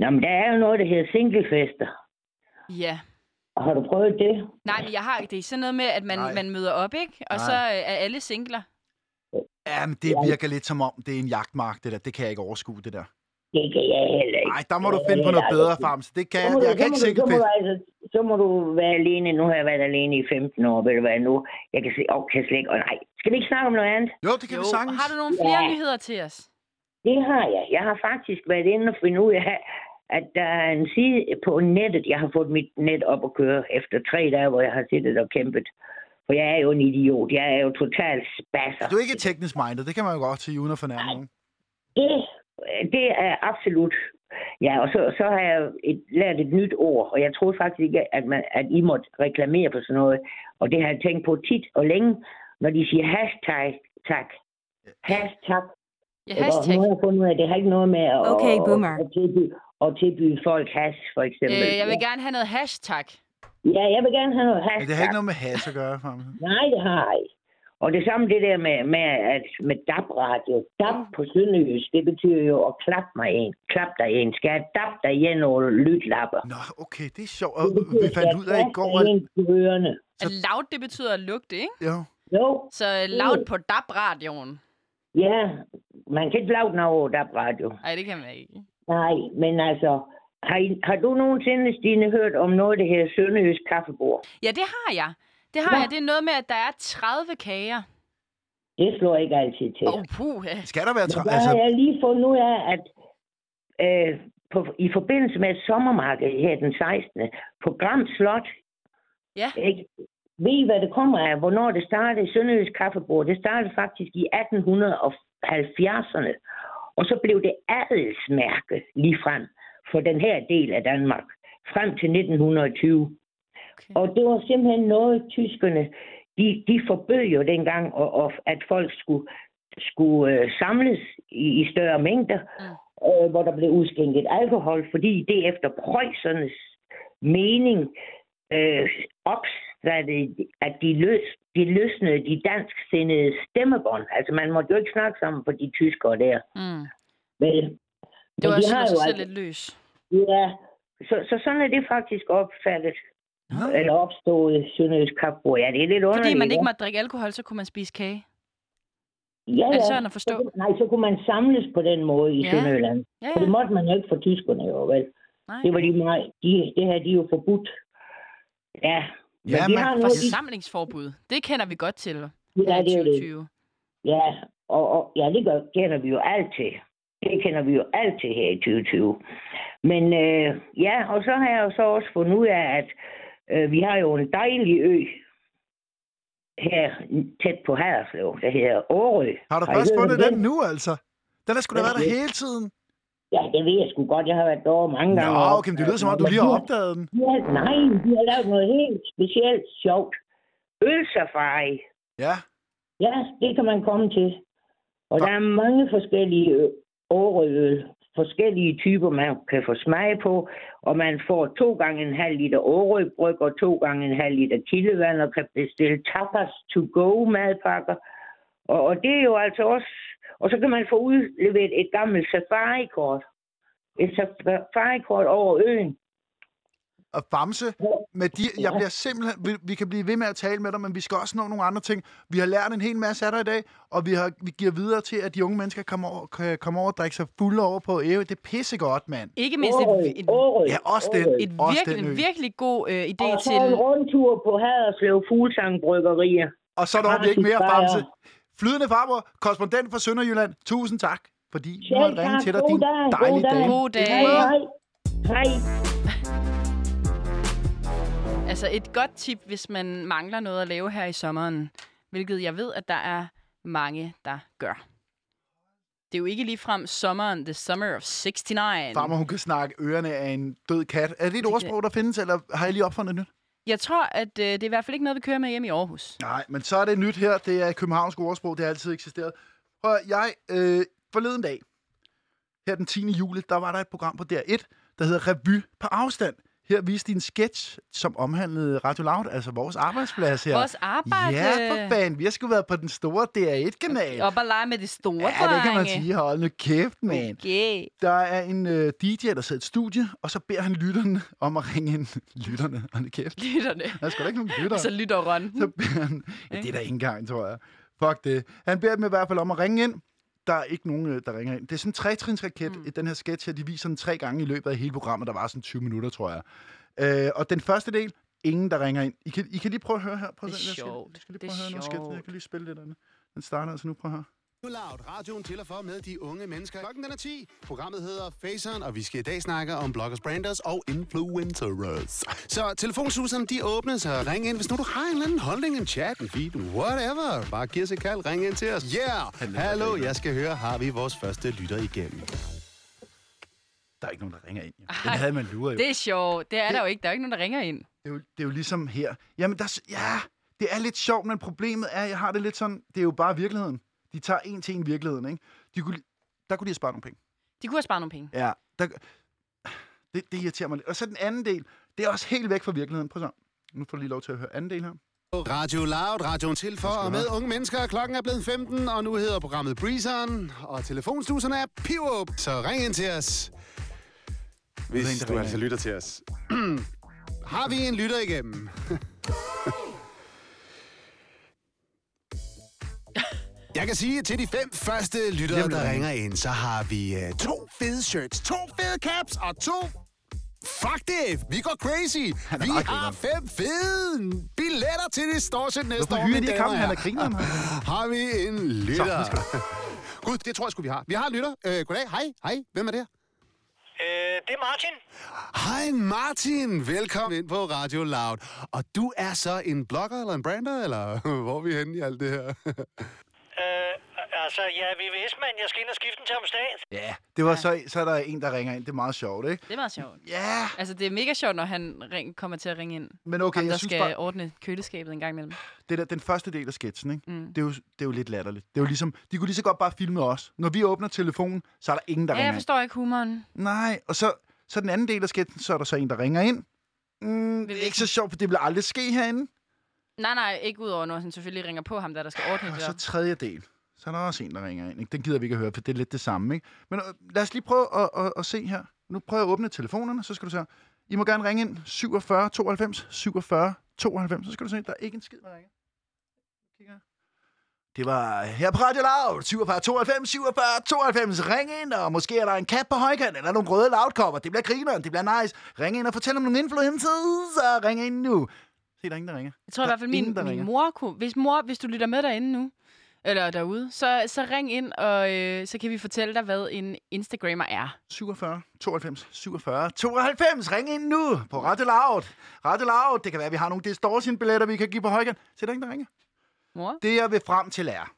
C: Nå, men der er jo noget, der hedder singlefester.
B: ja.
C: Har du prøvet det?
B: Nej, men jeg har ikke det. er Sådan noget med, at man,
A: Nej.
B: man møder op, ikke? Og
A: Nej.
B: så øh, er alle singler.
A: Jamen, det virker lidt som om, det er en jagtmark, det der. Det kan jeg ikke overskue, det der.
C: Det kan jeg heller ikke.
A: Nej, der må du finde på noget bedre, Famse. Det kan
C: Så
A: jeg,
C: må du-
A: jeg kan
C: så må
A: ikke
C: du-
A: sikre
C: så må
A: fedt.
C: du altså- Så må du være alene. Nu har jeg været alene i 15 år, ved du hvad nu? Jeg kan, se, åh, kan jeg slet ikke... Åh, nej, skal vi ikke snakke om noget andet?
A: Jo, det kan vi sagtens.
B: Har du nogle flere
C: Ja.
B: nyheder til os?
C: Det har jeg. Jeg har faktisk været inde og finde ud af, at der er en side på nettet. Jeg har fået mit net op at køre efter tre dage, hvor jeg har siddet og kæmpet. For jeg er jo en idiot. Jeg er jo totalt spasser.
A: Du er ikke teknisk minded, det kan man jo godt sige, uden at fornærme nogen.
C: Det, det er absolut. Ja, og så, så har jeg et, lært et nyt ord, og jeg troede faktisk ikke, at, man, at I måtte reklamere for sådan noget. Og det har jeg tænkt på tit og længe, når de siger hashtag. Tak. Hashtag.
B: Ja,
C: ikke? Og
B: hashtag.
C: Nu har jeg fundet ud af, at det har ikke noget med at,
D: Okay,
C: at-
D: boomer.
C: at, tilbyde, at tilbyde folk hash, for eksempel.
B: Øh, jeg vil gerne have noget hashtag.
C: Ja, jeg vil gerne have noget hash.
A: Men det har ikke noget med has at gøre, Famse.
C: Nej, det har jeg ikke. Og det samme det der med, med, at, med DAB-radio. DAB på sønderjysk, det betyder jo at klap mig en. Klap dig en. Skal jeg DAB dig igen og lytlapper?
A: Nå, okay, det er sjovt. Og vi fandt ud af i går,
C: at...
A: at...
C: En til ørerne.
A: Så-
B: At loud, det betyder at lugte, ikke?
A: Jo.
C: Jo,
B: Så øh, loud på DAB-radioen.
C: ja. Man kan ikke lave noget over DAB-radio.
B: Nej, det kan man ikke.
C: Nej, men altså... Har, I, har du nogensinde, Stine, hørt om noget, der hedder Sønderjysk Kaffebord?
B: Ja, det har jeg. Det har
C: Ja.
B: jeg. Det er noget med, at der er 30 kager.
C: Det slår ikke altid til.
B: Åh, oh, puh. Ja.
A: Skal der være... Tra-
C: Der altså... har jeg lige fundet ud af, at øh, på, i forbindelse med et sommermarked her den 16. på Gram Slot,
B: Ja.
C: ikke? ved I, hvad det kommer af? Hvornår det startede? Sønderjysk Kaffebord, det startede faktisk i 1870'erne. Og så blev det adelsmærke lige frem for den her del af Danmark frem til 1920.
B: Okay.
C: Og det var simpelthen noget, tyskerne, de, de forbød jo dengang, og, og, at folk skulle, skulle øh, samles i, i større mængder,
B: Mm.
C: øh, hvor der blev udskænket alkohol, fordi det efter prøjsernes mening øh, opsatte, at de, løs, de løsnede de dansksindede stemmebånd. Altså man måtte jo ikke snakke sammen for de tyskere der.
B: Mm.
C: Vel?
B: Det var
C: Men de
B: også
C: har
B: altså
C: jo
B: selv
C: altså,
B: lidt løs.
C: ja, så, så sådan er det faktisk opfattet
A: Nå.
C: eller opstået i Sønderjysk Kaffebord. Ja, det er lidt underligt.
B: Fordi man ikke
C: ja.
B: måtte drikke alkohol, så kunne man spise kage.
C: ja,
B: Er det
C: ja.
B: sådan at forstå?
C: Så kunne- nej, så kunne man samles på den måde i
B: Ja.
C: ja. Sønderjylland.
B: Ja,
C: For det
B: ja.
C: måtte man jo ikke for tyskerne jo, vel?
B: Nej.
C: Det var lige meget. De, det her, de er jo forbudt. Ja, men
A: Ja,
C: de
A: man-
C: har noget, de,
B: Forsamlingsforbud. Det kender vi godt til.
C: ja,
B: her i
C: det er jo det.
B: 2020.
C: Ja, og, og ja, det gør, kender vi jo altid. Det kender vi jo altid her i 2020. Men øh, ja, og så har jeg jo så også fundet ud af, at øh, vi har jo en dejlig ø her tæt på Haderslev, der hedder Årø.
A: Har du
C: I
A: først
C: hørt om
A: fundet den nu, altså? Den har sgu da
C: Ja,
A: været der
C: det-
A: hele tiden.
C: Ja, det ved jeg sgu godt. Jeg har været derovre mange gange.
A: Nå, okay, men det lyder som om, du lige har opdaget den.
C: Ja, nej, de har lavet noget helt specielt sjovt. Ølsafari.
A: Ja.
C: Ja, det kan man komme til. Og der er mange forskellige ø- åreøl, forskellige typer, man kan få smag på, og man får to gange en halv liter åreøbryg og to gange en halv liter kildevand, og kan bestille tapas to go madpakker. Og, og det er jo altså også... Og så kan man få udleveret et gammelt safarikort. Et safarikort over øen.
A: Og Bamse, med de, jeg
C: Ja.
A: bliver simpelthen, vi, vi kan blive ved med at tale med dig, men vi skal også nå nogle andre ting. Vi har lært en hel masse af dig i dag, og vi, har, vi giver videre til, at de unge mennesker kommer over, kan komme over og drikke sig fulde over på Ærø. Det er pissegodt, mand.
B: Ikke mindst
C: Årø,
B: et, et,
C: Årø,
A: Ja, også
C: Årø.
A: den.
B: et
A: Også
B: virkelig,
A: den ø.
B: en virkelig god øh, idé
C: Og så
B: til...
C: en rundtur på Haderslev Fuglsang Bryggerier.
A: Og så når vi ikke mere,
C: Bamse,
A: Bamse. Flydende farbror, korrespondent fra Sønderjylland. Tusind tak, fordi vi
C: Selv
A: måtte
C: tak.
A: ringe til dig.
C: God
A: Din
C: dag.
A: dejlige dag.
B: God dag.
C: Hej, hej. Hej.
B: Altså et godt tip, hvis man mangler noget at lave her i sommeren, hvilket jeg ved, at der er mange, der gør. Det er jo ikke ligefrem sommeren, the summer of 69.
A: Farmor, hun kan snakke ørerne af en død kat. Er det et
B: kan-
A: ordsprog, der findes, eller har jeg lige opfundet nyt?
B: Jeg tror, at øh, det er i hvert fald ikke noget, vi kører med hjem i Aarhus.
A: Nej, men så er det nyt her. Det er københavnsk ordsprog. Det har altid eksisteret. Og jeg, øh, forleden dag, her den 10. juli, der var der et program på DR1, der hedder Revy på afstand. Her viste de en sketch, som omhandlede Radio Loud, altså vores arbejdsplads her.
B: Vores arbejde.
A: Ja, for fanden. Vi har sgu været på den store DR1-kanal.
B: Op og lege med de store
A: Ja, det kan man
B: drenge.
A: sige. Hold nu kæft, man.
B: Okay.
A: Der er en øh, DJ, der sidder i et studie, og så beder han lytterne om at ringe ind. lytterne, hold nu kæft.
B: Lytterne.
A: Der er sgu da ikke nogen lyttere.
B: Så lytter Ron.
A: Så beder han... Ja, det er der ikke engang, tror jeg. Fuck det. Han beder dem i hvert fald om at ringe ind. Der er ikke nogen, øh, der ringer ind. Det er sådan en trætrinsraket mm. i den her sketch her. De viser den tre gange i løbet af hele programmet. Der var sådan 20 minutter, tror jeg. Øh, og den første del, ingen, der ringer ind. I kan, I kan lige prøve at høre her. Prøv at
B: Det er
A: se. Jeg skal-
B: sjovt.
A: Jeg skal lige
B: Det
A: prøve at
B: er
A: høre nogle sketch. Jeg
B: sjovt.
A: kan lige spille lidt af den. Den starter altså nu. Prøv at høre.
D: Nu Loud, radioen til og for med de unge mennesker. Klokken den er 10. Programmet hedder Faceren, og vi skal i dag snakke om bloggers, branders og influencers. Så telefonsuserne, de åbner, så ring ind, hvis nu du har en eller anden holdning, en chat, en feed, whatever. Bare giv os et kald, ring ind til os. Yeah! Hallo, jeg skal høre, har vi vores første lytter igennem?
A: Der er ikke nogen, der ringer ind. Jo. Den havde man luret jo.
B: Det er sjovt. Det er der jo ikke. Der er jo ikke nogen, der ringer ind.
A: Det er, jo, det er jo ligesom her. Jamen, der, s- ja, det er lidt sjovt, men problemet er, jeg har det lidt sådan, det er jo bare virkeligheden. De tager en til en virkeligheden, ikke? De kunne, der kunne de have sparet nogle penge.
B: De kunne have sparet nogle penge.
A: Ja. Der, det, det irriterer mig lidt. Og så den anden del, det er også helt væk fra virkeligheden. Prøv så. Nu får du lige lov til at høre anden del her.
D: Radio Loud, radioen til for og med unge mennesker. Klokken er blevet 15, og nu hedder programmet Breezeren, og telefonsluserne er pivåb. Så ring ind til os,
A: er en,
D: hvis
A: der
D: du
A: ringer
D: altså
A: ind.
D: lytter til os. Har vi en lytter igennem? Jeg kan sige, at til de fem første lyttere,
A: Jamen,
D: der
A: ring.
D: ringer ind, så har vi øh, to fede shirts, to fede caps og to Fuck det! Vi går crazy!
A: Han er
D: Vi
A: meget
D: har fem fede billetter til det distortion næste
A: Hvorfor
D: år,
A: hyrer
D: mine
A: de ikke ham?
D: damer og
A: Han er
D: herrer.
A: grineren, ham.
D: Har vi en lytter? Gud, det tror jeg sgu, vi har. Vi har en lytter. Øh, goddag. Hej. Hej. Hvem er det?
E: Øh, det er Martin.
D: Hej Martin. Velkommen ind på Radio Loud. Og du er så en blogger eller en brander, eller hvor er vi henne i alt det her?
E: Øh, altså, jeg er VVS-mand. Jeg skal ind og skifte den til Amstat.
A: Ja, det var så, så er der en, der ringer ind. Det er meget sjovt, ikke?
B: Det er meget sjovt.
A: Ja,
B: Altså, det er mega sjovt, når han ring, kommer til at ringe ind.
A: men okay,
B: Ham, der
A: jeg synes
B: skal
A: bare,
B: ordne køleskabet en gang imellem.
A: det der, den første del af sketchen, ikke? Mm. Det, er jo, det er jo lidt latterligt. Det er jo ligesom, de kunne lige så godt bare filme os. Når vi åbner telefonen, så er der ingen, der
B: Ja,
A: ringer
B: jeg
A: ind.
B: forstår ikke humoren.
A: Nej, og så, så den anden del af sketchen, så er der så en, der ringer ind. Mm, det er ikke så sjovt, for det vil aldrig ske herinde.
B: Nej, nej, ikke udover, når han selvfølgelig ringer på ham, der, der skal ordne det
A: Og Ah, så
B: der.
A: tredje del. Så er der også en, der ringer ind. Ikke? Den gider vi ikke at høre, for det er lidt det samme. Ikke? Men øh, lad os lige prøve at, at, at se her. Nu prøver jeg at åbne telefonerne, så skal du se her. I må gerne ringe ind 47 92 47 92. Så skal du se, der er ikke en skid, der ringer. Kigger jeg. Det var her på Radio Loud, 47 92, 47 92. Ring ind, og måske er der en kat på højkant, eller nogle røde loudkopper. Det bliver grineren, det bliver nice. Ring ind og fortæl om nogle influencers, så ring ind nu. Se, der er ingen, der ringer.
B: Jeg tror i
A: der er
B: hvert fald, min,
A: ingen, der ringer.
B: min mor kunne... Hvis, mor, hvis du lytter med derinde nu, eller derude, så, så ring ind, og øh, så kan vi fortælle dig, hvad en Instagrammer er.
A: 47 92 47 92. Ring ind nu på Rette Loud. Rette Loud. Det kan være, at vi har nogle distortion-billetter, vi kan give på højkant. Se, der er ingen, der ringer.
B: Mor?
A: Det, jeg vil frem til, er...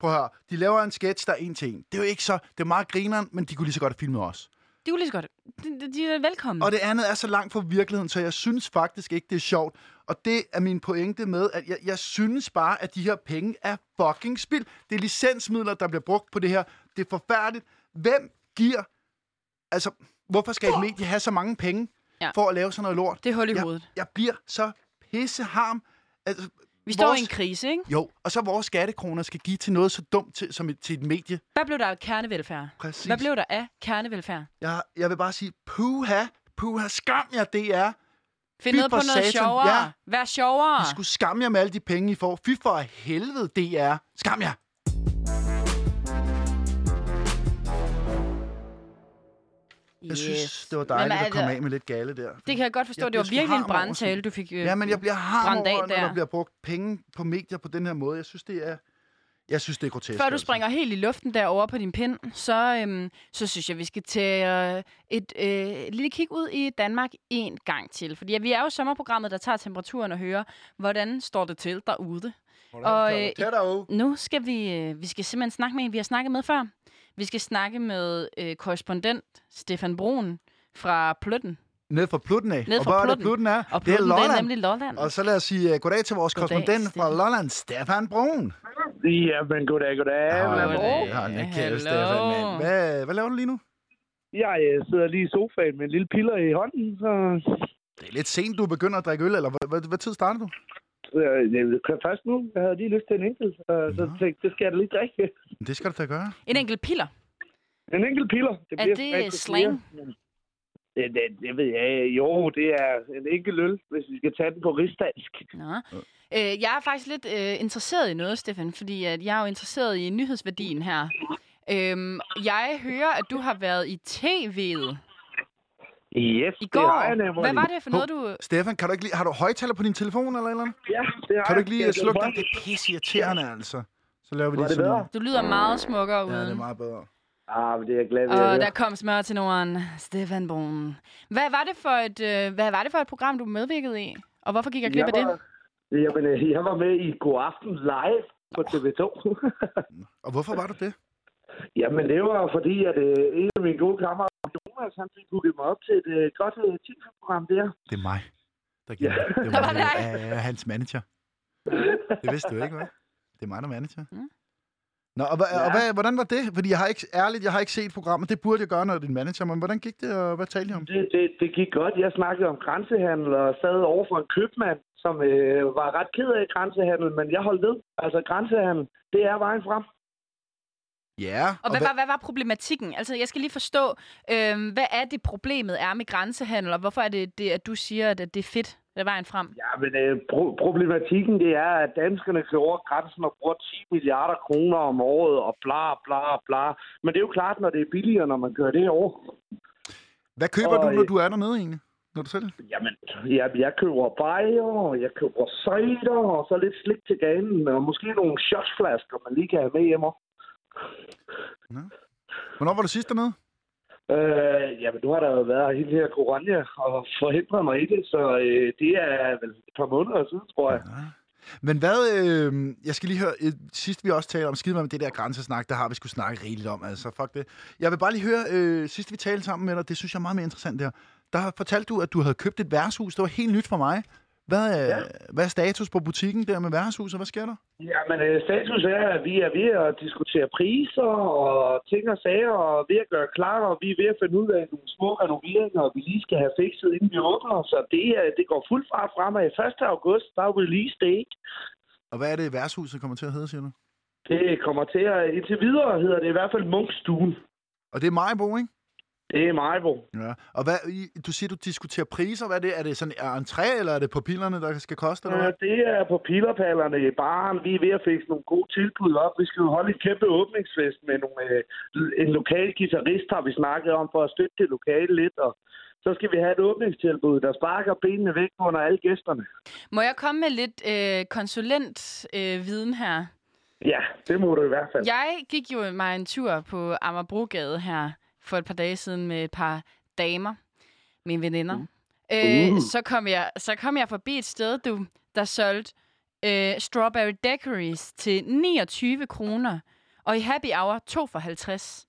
A: Prøv at høre. De laver en sketch, der er en til en. Det er jo ikke så... Det er meget grineren, men de kunne lige så godt filme os.
B: De kunne lige så godt. De, de, de er velkommen.
A: Og det andet er så langt fra virkeligheden, så jeg synes faktisk ikke, det er sjovt. Og det er min pointe med, at jeg, jeg synes bare, at de her penge er fucking spild. Det er licensmidler, der bliver brugt på det her. Det er forfærdeligt. Hvem giver... Altså, hvorfor skal et medie have så mange penge
B: Ja.
A: ja. for at lave sådan noget lort?
B: Det er hul i
A: jeg,
B: hovedet.
A: jeg bliver så pisseharm. Altså,
B: vi står i
A: vores-
B: en krise, ikke?
A: Jo, og så vores skattekroner skal give til noget så dumt til, som et, til et medie.
B: Hvad blev der af kernevelfærd?
A: Præcis.
B: Hvad blev der af kernevelfærd?
A: Jeg, jeg vil bare sige, puha, puha, skam jer, det er.
B: Find
A: Fy
B: noget på
A: for
B: noget
A: satan,
B: sjovere.
A: ja.
B: Vær sjovere.
A: I skulle skamme jer med alle de penge, I får. Fy for helvede, det er. Skam jer. Jeg
B: Yes.
A: synes, det var
B: Men
A: dejligt
B: er
A: at komme af
B: det,
A: med lidt gale der.
B: det kan jeg godt forstå.
A: Jeg
B: det var
A: bliver sgu
B: virkelig
A: harm
B: en
A: over
B: brandtale,
A: sådan-
B: du fik. øh,
A: Ja, men jeg bliver harm
B: brændt af
A: over, når
B: der.
A: der bliver brugt penge på medier på den her måde. Jeg synes, det er, jeg synes, det er grotesk.
B: Før du
A: altså.
B: springer helt i luften derovre på din pind, så, øhm, så synes jeg, vi skal tage øh, et øh, lille kig ud i Danmark en gang til. Fordi ja, vi er jo sommerprogrammet, der tager temperaturen og hører, hvordan står det til derude.
A: Hvordan
B: og,
A: gør du?
B: øh,
A: Tættere.
B: Nu skal vi, øh, vi skal simpelthen snakke med en, vi har snakket med før. Vi skal snakke med øh, korrespondent Stefan Brun fra Pløtten.
A: Ned fra Plutten af.
B: Ned
A: og
B: fra
A: hvor er det,
B: Plutten.
A: Plutten er?
B: Og
A: det er
B: Pløtten, det er,
A: Lolland.
B: nemlig Lolland.
A: Og så lad os sige uh, goddag til vores
B: Goddag,
A: korrespondent fra
B: Stefan.
A: Lolland, Stefan Brun.
C: Ja, men goddag, goddag.
B: goddag.
C: Goddag.
A: Hold da
B: Hallo.
A: kæft, Stefan, mand. Hvad, hvad laver du lige nu?
C: Jeg øh, sidder lige i sofaen med en lille piller i hånden, så
A: Det er lidt sent, du begynder at drikke øl, eller hvad, hvad, hvad tid starter du?
C: øh, jeg kører først nu. Jeg havde lige lyst til en enkelt, og så
A: Nå.
C: tænkte det skal jeg da lige drikke.
A: Men Det skal du da gøre.
B: En enkelt piller.
C: En enkelt piller. Det
B: Er det
C: faktisk
B: slang?
C: flere, men- Det, det, det ved jeg. ikke. Jo, det er en enkelt øl, hvis vi skal tage den på rigsdansk.
B: Nå. Øh, jeg er faktisk lidt øh, interesseret i noget, Stefan, fordi at jeg er jo interesseret i nyhedsværdien her. Øhm, jeg hører, at du har været i tv'et
C: Yes,
B: i
C: det
B: går.
C: har jeg nemlig.
B: Hvad var det for noget, du...
A: Stefan, kan du ikke lige, har du højtaler på din telefon eller et eller andet?
C: Ja, det har
A: Kan du
C: jeg.
A: ikke lige
C: Jeg
A: øh, slukke
C: kan
A: den? Det er pisse irriterende, altså. Så laver vi
C: Var
A: lige
C: det
A: sådan
C: bedre?
A: noget.
B: Du lyder meget smukkere
A: Ja, det er
B: uden.
A: meget bedre.
C: Ah, men det er jeg glad ved.
B: Og
C: at
B: der
C: høre.
B: kom smør til Norden. Stefan Brun. Hvad var det for et, øh, hvad var det for et program, du medvirkede i? Og hvorfor gik jeg glip af
C: jeg
B: det?
C: var, Jamen, øh, jeg var med i God Aften Live på TV2.
A: Og hvorfor var du det?
C: Jamen, det var fordi, at øh, en af mine gode kammerater, Jonas, han fik booket mig op til et øh, godt øh, tv-program der.
A: Det er mig, der giver
C: Ja.
A: det. Det
B: Der var
A: mig,
B: dig.
A: der er hans manager. Det vidste du ikke, hva'? Det er mig, der er manager.
B: Mm.
A: Nå, og, hva, og
C: Ja.
A: hvad, hvordan var det? Fordi jeg har ikke, ærligt, jeg har ikke set programmet. Det burde jeg gøre, når det er din manager. Men hvordan gik det, og hvad talte I om?
C: Det, det, det gik godt. Jeg snakkede om grænsehandel og sad over for en købmand, som øh, var ret ked af grænsehandel, men jeg holdt ved. Altså, grænsehandel, det er vejen frem.
A: Ja.
B: Og hvad, var, hvad var problematikken? Altså, jeg skal lige forstå, øh, hvad er det, problemet er med grænsehandel, og hvorfor er det, det at du siger, at det er fedt, det er vejen frem?
C: Ja, men øh, pro- problematikken, det er, at danskerne kører over grænsen og bruger 10 milliarder kroner om året og bla, bla, bla. Men det er jo klart, når det er billigere, når man kører det over.
A: Hvad køber
F: Og,
A: du, når
F: øh,
A: du er dernede egentlig? Når du selv?
F: Jamen, jeg, jeg køber bajer, jeg køber cider, og så lidt slik til ganen, og måske nogle shotsflasker, man lige kan have med hjemme.
A: Hvornår var du sidst dernede?
F: Øh, jamen, nu har der jo været hele her corona og forhindret mig i det, så øh, det er vel et par måneder siden, tror jeg.
A: Men hvad, øh, jeg skal lige høre, øh, sidst vi også talte om, skide mig med det der grænsesnak, der har vi skulle snakke rigeligt om, altså fuck det. Jeg vil bare lige høre, øh, sidst vi talte sammen med dig, det synes jeg er meget mere interessant der, der fortalte du, at du havde købt et værtshus, det var helt nyt for mig. Hvad, øh, ja.
F: Ja.
A: hvad er status på butikken der med værtshus, og hvad sker der?
F: Jamen, øh, status er, at vi er ved at diskutere priser og ting og sager, og ved at gøre klar, og vi er ved at finde ud af nogle små renoveringer, vi lige skal have fikset, inden vi åbner. Så det, øh, det går fuld fart fremad. 1. august, der er release date.
A: Og hvad er det, værtshuset kommer til at hedde, siger du?
F: Det kommer til at, indtil videre hedder det i hvert fald Munkstuen.
A: Og det er Majbo, ikke?
F: Det er Majbo.
A: Ja. Og hvad, I- du siger, du diskuterer priser. Hvad er det? Er det sådan er entré, eller er det på pillerne, der skal koste? Eller
F: Ja,
A: hvad?
F: det er på pillerpallerne i baren. Vi er ved at fikse nogle gode tilbud op. Vi skal jo holde et kæmpe åbningsfest med nogle, øh, en lokal guitarist, har vi snakket om, for at støtte det lokale lidt. Og så skal vi have et åbningstilbud, der sparker benene væk under alle gæsterne.
B: Må jeg komme med lidt øh, konsulentviden øh, viden her?
F: Ja, det må du i hvert fald. Ja.
B: Jeg gik jo mig en tur på Amagerbrogade her for et par dage siden med et par damer, mine veninder. Mm. Øh, så, kom jeg, så kom jeg forbi et sted, du, der solgte øh, strawberry daiquiris til 29 kroner, og i happy hour 2 for 50.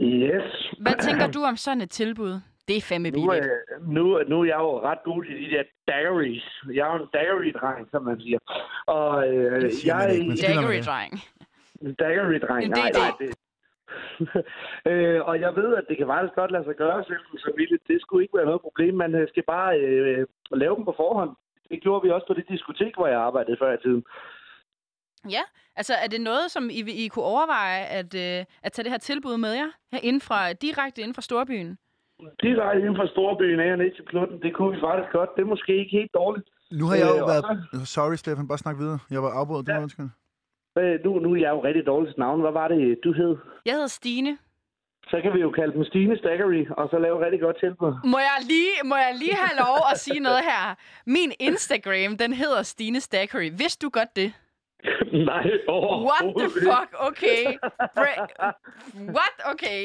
F: Yes.
B: Hvad tænker du om sådan et tilbud? Det er fandme
F: Nu,
B: billigt.
F: øh, nu, nu er jeg jo ret god i de der daiquiris. Jeg er jo en daiquiri-dreng, som man siger. Og øh,
A: Det siger
F: jeg,
A: man ikke, men skylder man
B: Daiquiri,
A: det?
B: dreng.
F: Daggery-dreng.
B: En
F: Nej,
B: DD.
F: nej, det... øh, og jeg ved, at det kan faktisk godt lade sig gøre, selvom så billigt. Det skulle ikke være noget problem. Man øh, skal bare øh, lave dem på forhånd. Det gjorde vi også på det diskotek, hvor jeg arbejdede før i tiden.
B: Ja, altså er det noget, som I, vil- I kunne overveje at, øh, at tage det her tilbud med jer? Her inden fra, direkte inden fra storbyen?
F: Direkte inden for storbyen af og ned til Klutten, det kunne vi faktisk godt. Det er måske ikke helt dårligt.
A: Nu har jeg jo
F: Øh,
A: været... Sorry, Stefan, bare snak videre. Jeg var afbrudt, det
F: Ja.
A: var undskyld.
F: Øh, nu, nu er jeg jo rigtig dårlig til navn. Hvad var det, du hed?
B: Jeg hedder Stine.
F: Så kan vi jo kalde dem Stine Staggery, og så lave et rigtig godt tilbud.
B: Må jeg lige, må jeg lige have lov at sige noget her? Min Instagram, den hedder Stine Stackery. Vidste du godt det?
F: nej, oh,
B: What the fuck? Okay. Bra- What? Okay.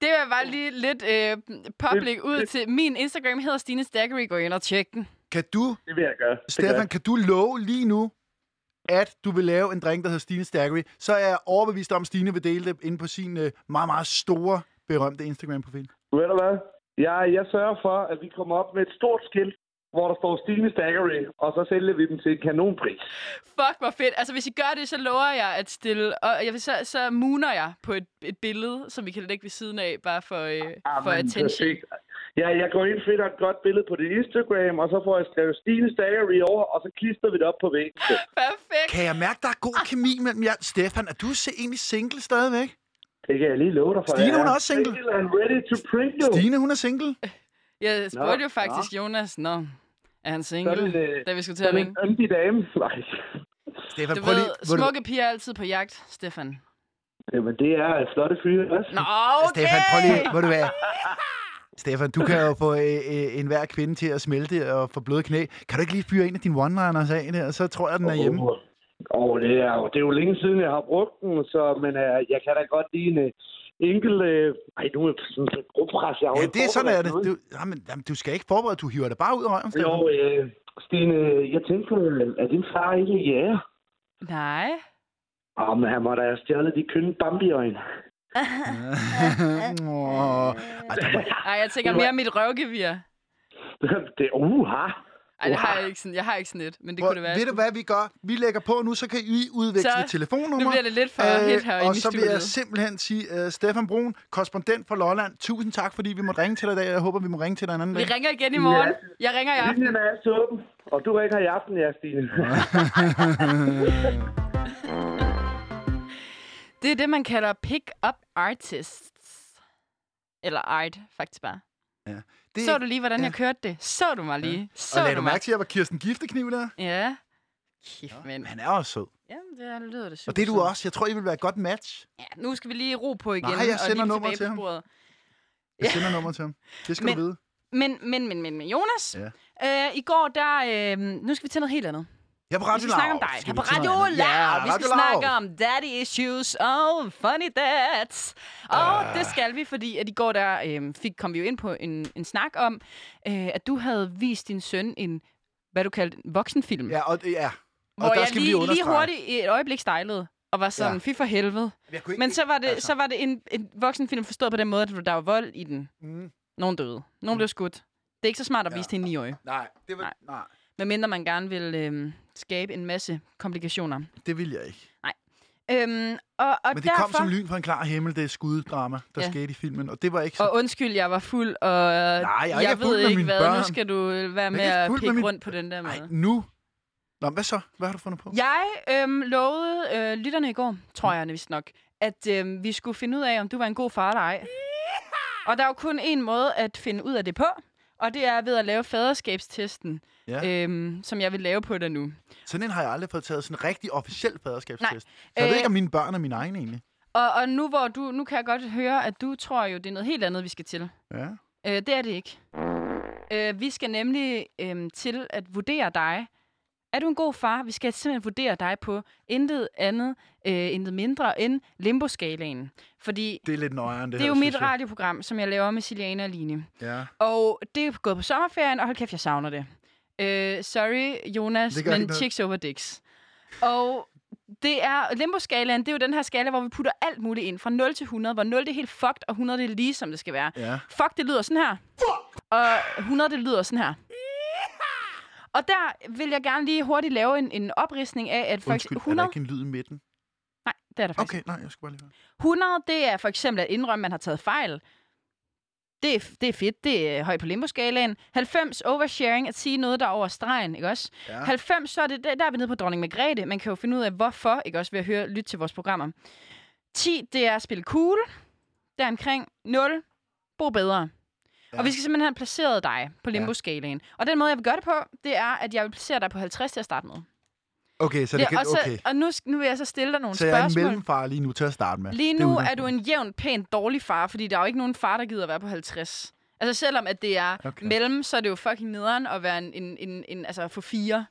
B: Det var bare lige lidt øh, public ud til. Min Instagram hedder Stine Stackery. Gå ind og tjek den.
A: Kan du,
F: Det vil jeg gøre. Det gør
A: Stefan, kan du love lige nu, at du vil lave en drink, der hedder Stine Staggery, så er jeg overbevist om, at Stine vil dele det inde på sin øh, meget, meget store, berømte Instagram-profil.
F: Ved du hvad? Jeg, jeg sørger for, at vi kommer op med et stort skilt, hvor der står Stine Staggery, og så sælger vi dem til en kanonpris.
B: Fuck, hvor fedt. Altså, hvis I gør det, så lover jeg at stille... Og jeg, vil- så, så mooner jeg på et, et billede, som vi kan lægge ved siden af, bare for,
A: Ah,
B: øh, for attention.
F: perfekt. Ja, jeg går ind finder et godt billede på dit Instagram, og så får jeg skrevet Stine Staggery over, og så klister vi det op på væggen.
B: Perfekt.
A: Kan jeg mærke, der er god kemi mellem jer? Stefan, er du se- egentlig single stadigvæk?
F: Det kan jeg lige love dig for.
A: Stine,
F: jeg
A: hun er også single.
F: single and ready to pringle.
A: Stine, hun er single.
B: Jeg
F: Nå,
B: spurgte jo
F: nå.
B: faktisk Jonas, når er han single,
F: Sådan, øh,
B: da vi skulle til at
F: Sådan en
B: ringe.
F: yndig dame. Nej.
A: Stefan,
B: Du
A: Altså, prøv lige...
B: ved,
A: hvor du-
B: smukke piger er altid på jagt, Stefan.
F: Jamen, det er et flotte fyre. også.
B: Nå, okay!
A: Stefan, prøv lige, hvor du er. Stefan, du kan jo få øh, øh, enhver kvinde til at smelte og få bløde knæ. Kan du ikke lige fyre en af dine one-liners af der, så tror jeg, den er hjemme.
F: Åh, Og det er, jo, det er jo længe siden, jeg har brugt den, så, men uh, jeg kan da godt lide en uh, enkelt... Uh, ej, nu er sådan et gruppres, jeg har jo
A: Ja,
F: ikke
A: det er sådan, er
F: forberedt
A: det.
F: noget.
A: Du, jamen, jamen, du skal ikke forberede, du hiver det bare ud af røven,
F: Jo,
A: Stefan.
F: øh, Stine, jeg tænker, Øh, er din far ikke jæger?
B: Nej.
F: Åh, men han må da have stjålet de kønne bambiøjne.
A: Åh. Ej, der må-
B: Ej, jeg tænker mere om mit røvgevir.
F: det er uha.
B: Ej, det har jeg ikke sådan, jeg har ikke sådan et, men det kunne det være.
A: Ved du hvad vi gør? Vi lægger på nu, så kan I udveksle
B: Så-
A: telefonnummer.
B: nu bliver det lidt for hit herinde
A: Øh, Og
B: i
A: så vil jeg
B: studiet.
A: simpelthen sige, uh, Stefan Brun, korrespondent fra Lolland, tusind tak, fordi vi måtte ringe til dig i dag. Jeg håber, vi må ringe til dig en anden
B: Vi
A: dag.
B: ringer igen i morgen. Jeg ringer i aften.
F: Linjen er altid åben, og du ringer i aften, ja, Stine.
B: Det er det, man kalder pick-up artists. Eller art, faktisk bare.
A: Det,
B: Så du lige, hvordan
A: ja.
B: jeg kørte det? Så du mig lige? Så
A: og lagde
B: du
A: du
B: mig?
A: mærke til, at jeg var Kirsten Giftekniv der?
B: Ja. Kæft, men.
A: Han er også sød.
B: Jamen, det er- lyder det super.
A: Og det er du også. Jeg tror, I vil være et godt match.
B: Ja, nu skal vi lige ro på igen.
A: jeg
B: og
A: sender
B: lige
A: nummeret
B: tilbage
A: til
B: på
A: ham.
B: sporet.
A: Jeg sender nummer til ham. Det skal men...
B: Men-
A: du vide.
B: Men, men, men, men, men Jonas,
A: Ja.
B: ja. øh, i går der... Øh, nu skal vi til noget helt andet.
A: Jeg er på
B: Vi
A: Radio
B: skal snakke om
A: Loud.
B: dig.
A: Skal
B: Skal
A: vi
B: på
A: til noget
B: Radio
A: andet?
B: Loud. Vi
A: Radio
B: skal
A: Loud.
B: snakke om daddy issues og funny dads. Og
A: Ah.
B: uh. det skal vi, fordi at i går der øh, fik, kom vi jo ind på en, en snak om, øh, at du havde vist din søn en, hvad du kaldte en voksenfilm.
A: Ja, og, ja. og
B: hvor
A: der
B: jeg
A: skal vi
B: lige, lige
A: understrege.
B: hurtigt i et øjeblik stejlede og var sådan,
A: Ja.
B: ja. fy for helvede.
A: Jeg kunne ikke...
B: Men så var det,
A: altså.
B: altså. så var det en, en voksenfilm forstået på den måde, at der var vold i den.
A: Mm,
B: Nogen døde. Nogen blev skudt. Det er ikke så smart at
A: Ja.
B: vise til en 9
A: nej, det var... Nej.
B: Nej. medmindre man gerne vil øh, skabe en masse komplikationer.
A: det ville jeg ikke.
B: Øhm, og, og
A: Men det
B: derfor...
A: kom som lyn fra en klar himmel, det skuddrama, der
B: Ja.
A: skete i filmen. Og det var ikke så...
B: Og undskyld, jeg var fuld, og Nej,
A: jeg er ikke
B: jeg
A: fuld
B: ved
A: med
B: ikke
A: mine
B: hvad,
A: børn.
B: nu skal du øh, være med
A: ikke
B: at
A: fuld med
B: pikke
A: mine-
B: rundt på den der måde.
A: Nej, nu... Nå, men hvad så? Hvad har du fundet på?
B: Jeg øhm, lovede øh, lytterne i går, tror jeg vist nok, at øhm, vi skulle finde ud af, om du var en god far eller ej. Og der er jo kun en måde at finde ud af det på, og det er ved at lave faderskabstesten,
A: Ja.
B: øhm, som jeg vil lave på dig nu.
A: Sådan en har jeg aldrig fået taget sådan en rigtig officiel faderskabstest. Så jeg
B: Øh,
A: ved ikke, om mine børn er mine egne egentlig.
B: Og, og nu, hvor du, nu kan jeg godt høre, at du tror jo, det er noget helt andet, vi skal til.
A: Ja.
B: Øh, det er det ikke. Øh, vi skal nemlig øh, til at vurdere dig. Er du en god far? Vi skal simpelthen vurdere dig på intet andet, øh, intet mindre end limboskalaen. Fordi det,
A: Det er lidt nøjere end det
B: det
A: her,
B: er jo mit
A: synes jeg.
B: radioprogram, som jeg laver med Siliana og Line.
A: Ja.
B: Og det er gået på sommerferien, og hold kæft, jeg savner det. Øh, sorry, Jonas,
A: Det gør ikke
B: men
A: noget.
B: chicks over dicks. Og det er, limboskalaen, det er jo den her skala, hvor vi putter alt muligt ind, fra 0 til 100, hvor 0 det er helt fucked, og 100 det er lige som det skal være.
A: Ja.
B: Fuck, det lyder sådan her. Og 100, det lyder sådan her. Og der vil jeg gerne lige hurtigt lave en, en opridsning af, at for
A: Undskyld,
B: eksempel
A: er der
B: 100...
A: ikke en lyd i midten?
B: Nej, det er der faktisk.
A: Okay, nej, jeg skal bare lige høre.
B: 100, det er for eksempel at indrømme, man har taget fejl. Det er, det er fedt, det er højt på limboskalaen. 90, oversharing, at sige noget, der er over stregen, ikke også?
A: Ja.
B: 90, så er det, der der er vi nede på dronning Margrethe. Man kan jo finde ud af, hvorfor, ikke også, ved at høre, lytte til vores programmer. 10, det er at spille cool. Deromkring 0, brug bedre.
A: Ja.
B: Ja. Og vi skal simpelthen have placeret dig på
A: Ja.
B: limboskalaen. Og den måde, jeg vil gøre det på, det er, at jeg vil placere dig på 50 til at starte med.
A: Okay, så det, kan,
B: og, så,
A: okay.
B: og nu, sk- nu vil jeg så stille dig nogle
A: Så jeg er en
B: spørgsmål.
A: mellemfar lige nu til at starte med.
B: Lige
A: Det
B: nu er du
A: udgangspunktet.
B: en jævn, pænt dårlig far, fordi der er jo ikke nogen far, der gider at være på 50. Altså selvom at det er
A: Okay.
B: okay. mellem, så er det jo fucking nederen at være en, en, en, en altså at få fire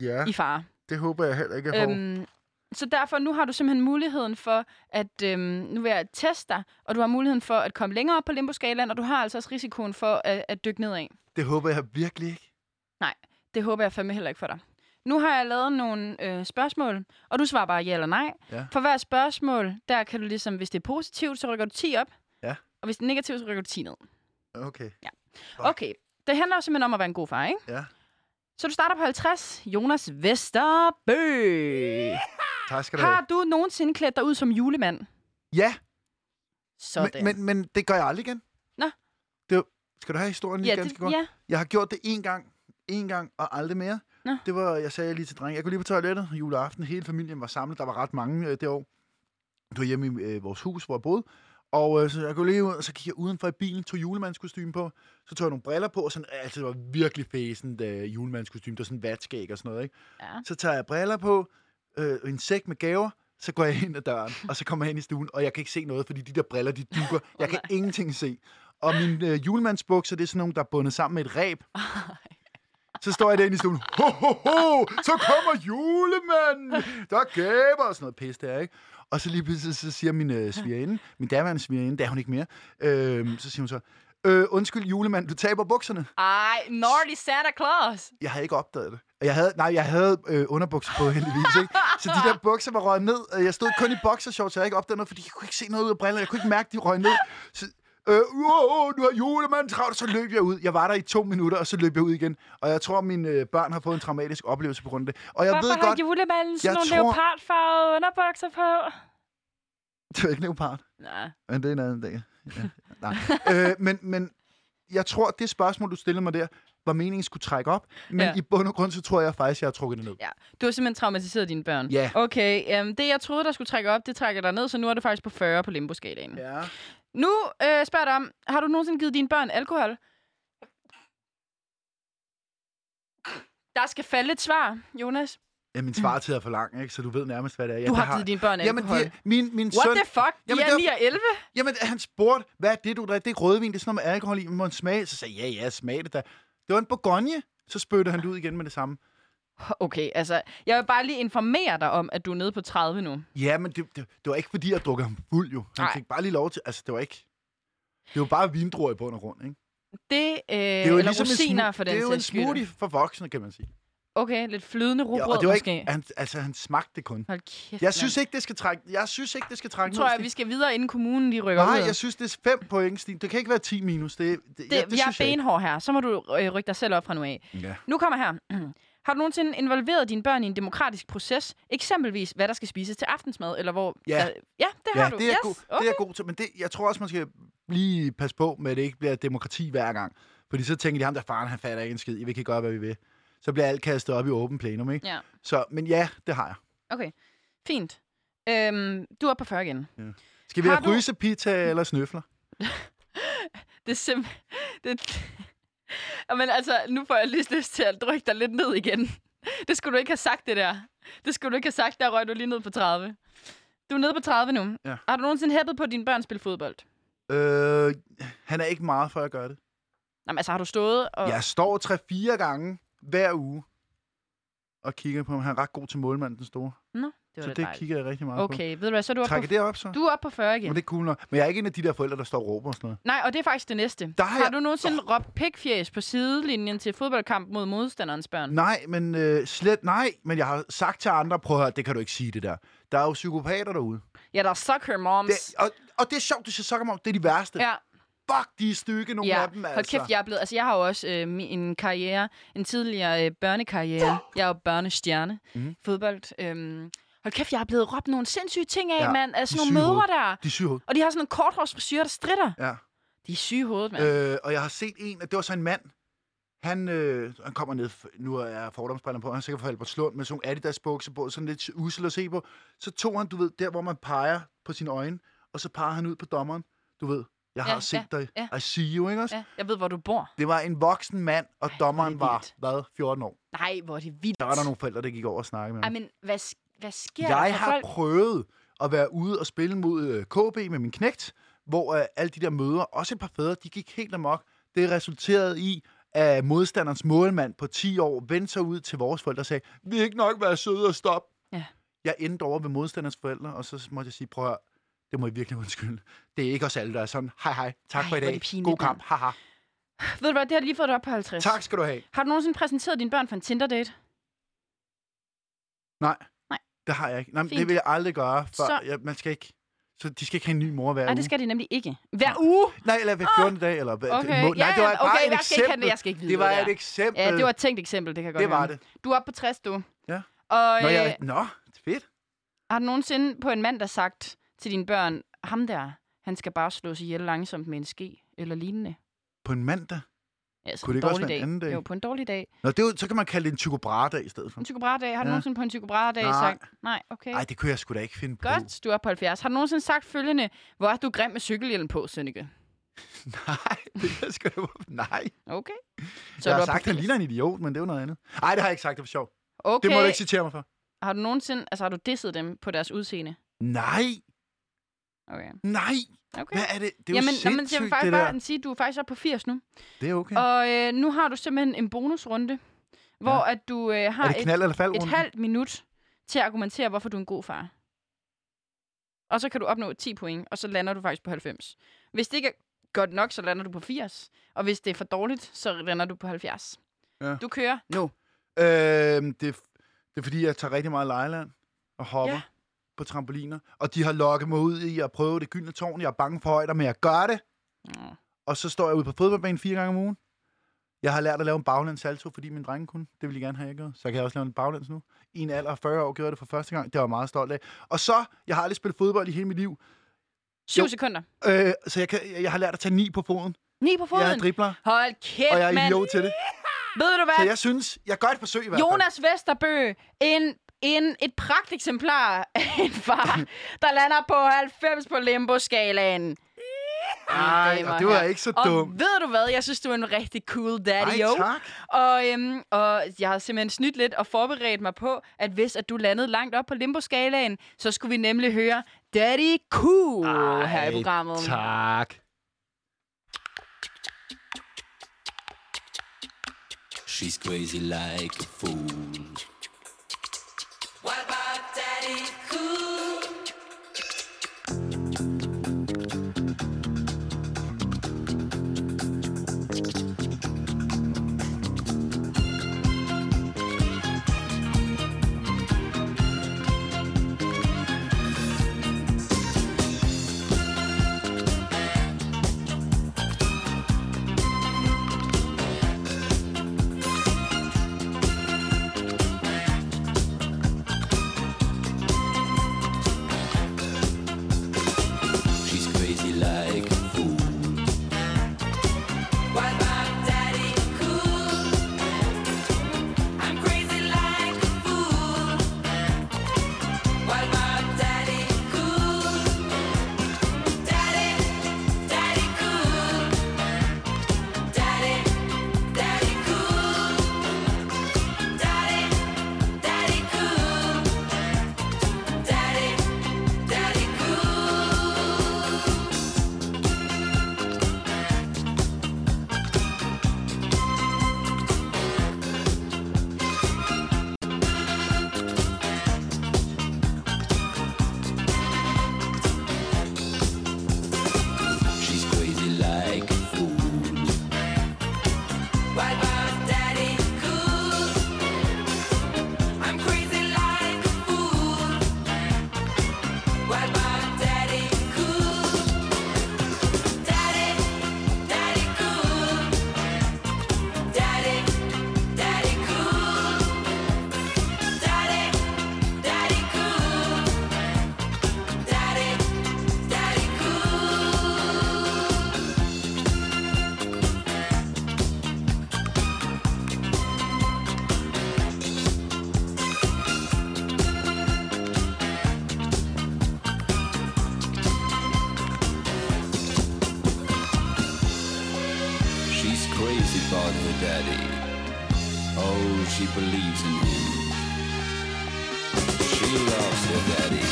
A: Ja,
B: i far.
A: det håber jeg heller ikke, jeg får.
B: Øhm, så derfor, nu har du simpelthen muligheden for, at øhm, nu vil jeg teste dig, og du har muligheden for at komme længere op på limboskalaen, og du har altså også risikoen for at, at dykke nedad.
A: Det håber jeg virkelig ikke.
B: Det håber jeg fandme heller ikke for dig. Nu har jeg lavet nogle øh, spørgsmål, og du svarer bare ja eller nej.
A: Ja.
B: For hver spørgsmål, der kan du ligesom, hvis det er positivt, så rykker du 10 op.
A: Ja.
B: Og hvis det er negativt, så rykker du 10 ned.
A: Okay. Fuck.
B: Okay, det handler jo simpelthen om at være en god far, ikke?
A: Ja.
B: Så du starter på 50. Jonas Vesterbø.
A: Tak skal du have.
B: Har du nogensinde klædt dig ud som julemand?
A: Ja,
B: Sådan.
A: men, men, men det gør jeg aldrig igen.
B: Nå.
A: Det var, skal du have historien lige
B: ja,
A: ja, ganske kort?
B: det, ja,
A: Jeg har gjort det én gang, én gang og aldrig mere.
B: Nå.
A: Det var, jeg sagde lige til drengen, jeg kunne lige på toilettet juleaften. Hele familien var samlet, der var ret mange øh, det år. Det var hjemme i øh, vores hus, hvor jeg boede. Og øh, så jeg kunne lige ud, og så gik jeg udenfor i bilen, tog julemandskostyme på. Så tog jeg nogle briller på, og sådan, altså, det var virkelig fæsent øh, julemandskostyme. Det var sådan vatskæg og sådan noget, ikke?
B: Ja.
A: Så tager jeg briller på, øh, en sæk med gaver, så går jeg ind ad døren, og så kommer jeg ind i stuen, og jeg kan ikke se noget, fordi de der briller, de dukker. Jeg kan ingenting se. Og mine øh, julemandsbukser, det er sådan nogle, der er bundet sammen med et ræb. Så står jeg derinde i stuen. Ho, ho, ho! Så kommer julemanden! Der er gaver og sådan noget pis der, ikke? Og så lige pludselig så siger min øh, svigerinde, min daværende svigerinde, der er hun ikke mere, øh, så siger hun så, øh, undskyld julemand, du taber bukserne.
B: Ej, Naughty Santa Claus.
A: Jeg havde ikke opdaget det. Og Jeg havde, nej, jeg havde øh, underbukser på heldigvis, ikke? Så de der bukser var røget ned. og Jeg stod kun i boxershorts, så jeg ikke opdagede noget, fordi jeg kunne ikke se noget ud af brillerne. Jeg kunne ikke mærke, de røg ned. Så, øh, wow, nu er julemanden travlt, så løb jeg ud. Jeg var der i to minutter, og så løb jeg ud igen. Og jeg tror, mine øh, børn har fået en traumatisk oplevelse på grund af det. Og jeg
B: Hvorfor
A: ved
B: har
A: godt,
B: julemanden sådan
A: Jeg
B: nogle
A: tror-
B: leopardfarvede underbukser på?
A: det var ikke leopard.
B: Nej.
A: Men det er en anden dag. Ja. Nej. øh, men, men jeg tror, det spørgsmål, du stillede mig der, var meningen skulle trække op. Men ja.
B: Ja.
A: i bund og grund, så tror jeg faktisk, jeg har trukket det ned.
B: Ja. Du har simpelthen traumatiseret dine børn.
A: Ja.
B: Okay, um, det jeg troede, der skulle trække op, det trækker dig ned, så nu er du faktisk på 40 på limboskalaen.
A: Ja.
B: Nu øh, spørger jeg dig om, har du nogensinde givet dine børn alkohol? Der skal falde et svar, Jonas.
A: Ja, min svartid er for lang, ikke? så du ved nærmest, hvad det er. Ja,
B: Du
A: det
B: har givet dine børn
A: jamen,
B: alkohol.
A: de, min, min
B: What
A: søn,
B: the fuck? De
A: Jamen,
B: er
A: det var-
B: 9 og 11.
A: Jamen, han spurgte, hvad er det, du drikker? Det er ikke rødvin, det er sådan noget med alkohol i, men må man smage? Så sagde jeg, ja, ja, smag det da. Det var en bourgogne. Så spyttede han det ud igen med det samme.
B: Okay, altså, jeg vil bare lige informere dig om, at du er nede på 30 nu.
A: Ja, men det, det, det var ikke fordi, jeg drukker ham fuld jo. Han
B: Nej.
A: fik bare lige lov til, altså det var ikke... Det var bare vindruer i bund og grund, ikke?
B: Det, øh,
A: Det er jo
B: eller rosiner
A: smu-
B: for
A: Det
B: den
A: er jo en
B: sags skyld.
A: smoothie for voksne, kan man sige.
B: Okay, lidt flydende rugbrød
A: Ja, og det var
B: måske.
A: ikke, han, altså, han smagte det kun.
B: Hold kæft,
A: Jeg synes ikke, det skal trække, jeg synes ikke, det skal trække
B: Nu tror
A: ned,
B: jeg, vi
A: Stig.
B: skal videre, inden kommunen de rykker ud.
A: Nej, jeg synes, det er 5 point, Stine. Det kan ikke være 10 minus. Det, det, det,
B: det,
A: ja,
B: jeg,
A: det
B: jeg er
A: synes jeg ikke.
B: benhård her. Så må du øh, rykke dig selv op fra nu af.
A: Ja.
B: Nu kommer her. Har du nogensinde involveret dine børn i en demokratisk proces? Eksempelvis, hvad der skal spises til aftensmad, eller hvor...
A: Ja.
B: Øh, ja, det har
A: Ja,
B: du.
A: det er,
B: yes.
A: yes, god, okay. det er jeg god til. Men det, jeg tror også, man skal lige passe på med, at det ikke bliver demokrati hver gang. Fordi så tænker de, ham der faren, han fatter ikke en skid. Vi kan gøre, hvad vi vil. Så bliver alt kastet op i åben plenum, ikke?
B: Ja.
A: Så, men ja, det har jeg.
B: Okay, fint. Øhm, du er oppe på 40 igen.
A: Skal vi
B: Har
A: have
B: du-
A: frysepizza eller snøfler?
B: Det er simpelthen... Det... Men altså, nu får jeg lige lyst til at drykke dig lidt ned igen. Det skulle du ikke have sagt, det der. Det skulle du ikke have sagt, der røg du lige ned på 30. Du er nede på 30 nu.
A: Ja.
B: Har du nogensinde hæppet på, at dine børn spiller fodbold?
A: Øh, han er ikke meget, før jeg gør det.
B: Jamen, altså, har du stået og...
A: Jeg står 3-4 gange hver uge og kigger på ham. Han er ret god til målmanden, den store.
B: Nå, det var
A: Så
B: da
A: det
B: dejligt.
A: kigger jeg rigtig meget
B: Okay, ved du hvad, så er du
A: på.
B: oppe
A: Trækker
B: på,
A: det op, så?
B: du er oppe på 40 igen.
A: Men det er cool nok. Men jeg er ikke en af de der forældre, der står og råber og sådan noget.
B: Nej, og det er faktisk det næste.
A: Der har
B: har
A: jeg-
B: du nogensinde råbt pikfjæs på sidelinjen til fodboldkamp mod modstanderens børn?
A: Nej, men øh, slet nej. Men jeg har sagt til andre, prøv at høre, det kan du ikke sige det der. Der er jo psykopater derude.
B: Ja, der er sucker moms.
A: Det, og, og det er sjovt, du siger sokker om, det er de værste. Ja.
B: Ja,
A: Fuck, de er stykke, nogle
B: ja.
A: af dem, altså.
B: Hold kæft, jeg er blevet... Altså, jeg har jo også øh, mi- en karriere, en tidligere øh, børnekarriere. Jeg er jo børnestjerne.
A: Mhm.
B: Mm. Fodbold. Øhm. Hold kæft, jeg er blevet råbt nogle sindssyge ting af,
A: Ja,
B: ja. mand.
A: de
B: Af sådan nogle
A: syge
B: mødre
A: hoved.
B: der.
A: De er syge i hovedet.
B: Og de har sådan nogle korthårsfrisyrer, der stritter.
A: Ja.
B: De er syge i hovedet, mand. Øh.
A: Øh, og jeg har set en, det var så en mand. Han, øh, han kommer ned, nu er jeg fordomsbrillerne på, han er sikkert fra Albertslund, med sådan nogle Adidas bukser på, sådan lidt usel at se på. Så tog han, du ved, der hvor man peger på sine øjne, og så peger han ud på dommeren. Du ved, jeg har
B: Ja,
A: ja, set
B: ja,
A: dig.
B: ja.
A: I see you, ikke også? Ja.
B: Ja, jeg ved, hvor du bor.
A: Det var en voksen mand, og dommeren
B: det
A: var,
B: vildt.
A: hvad, 14 år.
B: Nej, hvor er det vildt.
A: Der var der nogle forældre, der gik over og snakkede med
B: Ej,
A: ham.
B: men hvad, sk- hvad sker der
A: Jeg
B: for
A: har
B: folk?
A: prøvet at være ude og spille mod øh, KB med min knægt, hvor øh, alle de der møder, også et par fædre, de gik helt amok. Det resulterede i, at modstanderens målmand på 10 år vendte sig ud til vores forældre og sagde, vi har ikke nok været søde og stop.
B: Ja.
A: Jeg endte over ved modstanderens forældre, og så måtte jeg sige, prøv at høre, det må I virkelig undskylde. Det er ikke os alle, der er sådan. Hej hej, tak
B: Ej,
A: for i
B: hvor er
A: dag.
B: det pinligt,
A: God kamp,
B: mand.
A: haha.
B: Ved du hvad, det har lige fået dig op på 50.
A: Tak skal du have.
B: Har du nogensinde præsenteret dine børn for en Tinder-date?
A: Nej.
B: Nej.
A: Det har jeg ikke. Nej, men det
B: Fint.
A: vil jeg aldrig gøre. For
B: Så-
A: så... ja, man skal ikke... Så de skal ikke have en ny mor hver
B: Nej,
A: uge.
B: det skal de nemlig ikke. Hver uge? Ah!
A: Nej, eller hver 14. dag, eller hvad?
B: Okay,
A: Må- Nej,
B: ja,
A: det var
B: ja,
A: bare
B: okay,
A: et
B: jeg skal ikke have
A: eksempel.
B: det, jeg skal ikke vide
A: det var
B: det der.
A: et eksempel.
B: Ja, det var et tænkt eksempel, det kan jeg godt
A: Det var
B: høre.
A: det.
B: Du er oppe på 60, du.
A: Ja.
B: Og
A: Nå,
B: øh,
A: jeg... Nå, fedt.
B: har du nogensinde på en mand, der sagt til dine børn, ham der, han skal bare slås ihjel langsomt med en ske eller lignende?
A: På en mandag.
B: Altså,
A: Kunne det
B: en
A: ikke også
B: dårlig
A: være en anden dag?
B: Jo, på en dårlig dag.
A: Nå, det er jo, så kan man kalde det en psykobrada i stedet for.
B: En psykobra-dag. Har du
A: Ja.
B: nogensinde på en psykobra-dag
A: Nej.
B: sagt, nej, okay.
A: Nej, det kunne jeg sgu da ikke finde på.
B: Godt, du er på 70. Har du nogensinde sagt følgende, hvor er du grim med cykelhjelm på, Sønneke?
A: Nej, det kan jeg sgu da... Nej.
B: Okay.
A: Så jeg
B: er du
A: har
B: oppe
A: sagt,
B: på
A: han ligner en idiot, men det er jo noget andet. Nej, det har jeg ikke sagt, det var sjovt. Okay.
B: Okay.
A: Det må du ikke citere mig for.
B: Har du nogensinde, altså har du disset dem på deres udseende?
A: Nej,
B: Okay.
A: nej.
B: okay.
A: Hvad er det? Det er
B: Jamen,
A: jo
B: nå, men jeg vil
A: sindssygt, det
B: faktisk bare
A: der.
B: sige, at du er faktisk oppe på 80 nu.
A: Det er okay.
B: Ja. Og øh, nu har du simpelthen en bonusrunde, hvor ja. at du øh, har
A: Er det knald eller fald
B: et, et halvt minut til at argumentere, hvorfor du er en god far. Og så kan du opnå 10 point, og så lander du faktisk på 90. Hvis det ikke er godt nok, så lander du på 80. Og hvis det er for dårligt, så lander du på 70.
A: Ja.
B: Du kører nu.
A: Øhm, det, er f- det er fordi, jeg tager rigtig meget lejland og hopper
B: Ja.
A: ja. på trampoliner. Og de har lokket mig ud i at prøve det gyldne tårn. Jeg er bange for højder, men jeg gør det.
B: Nå.
A: Og så står jeg ude på fodboldbanen fire gange om ugen. Jeg har lært at lave en baglæns salto, fordi min dreng kunne. Det ville de gerne have, jeg gjorde. Så kan jeg også lave en baglæns nu. I en alder af 40 år gjorde jeg det for første gang. Det var jeg meget stolt af. Og så, jeg har aldrig spillet fodbold i hele mit liv.
B: 7
A: Jo.
B: sekunder.
A: Øh, så jeg, kan, jeg har lært at tage ni på foden.
B: 9 på
A: Jeg er
B: foden.
A: dribler,
B: Hold kæft,
A: og jeg er
B: mand.
A: idiot til det.
B: Ved du hvad?
A: Så jeg synes, jeg gør et forsøg i hvert fald.
B: Jonas Vesterbø, en, en, et pragteksemplar af en far, der lander på 90 på limbo-skalaen.
A: Ej,
B: damer
A: og det var
B: her.
A: ikke så
B: Og
A: dumt.
B: ved du hvad, jeg synes, du er en rigtig cool daddy,
A: Ej,
B: jo.
A: tak.
B: Og, øhm, og jeg har simpelthen snydt lidt og forberedt mig på, at hvis at du landede langt op på limboskalaen, så skulle vi nemlig høre Daddy Cool Ej, her i programmet.
A: Tak.
G: She's crazy like a fool.
H: What about Daddy Cool?
G: She's crazy like a fool.
H: What about Daddy Cool? I'm crazy like a fool. What about Daddy Cool? Daddy, Daddy Cool. Daddy, Daddy Cool. Daddy, Daddy Cool. Daddy, Daddy Cool.
G: She's crazy like a fool.
H: What about Daddy Cool? I'm crazy like a fool. What about Daddy Cool? Daddy, Daddy Cool. Daddy, Daddy Cool. Daddy, Daddy Cool. Daddy, Daddy Cool.
G: She's crazy about her daddy. Oh, she believes in him. She loves her daddy.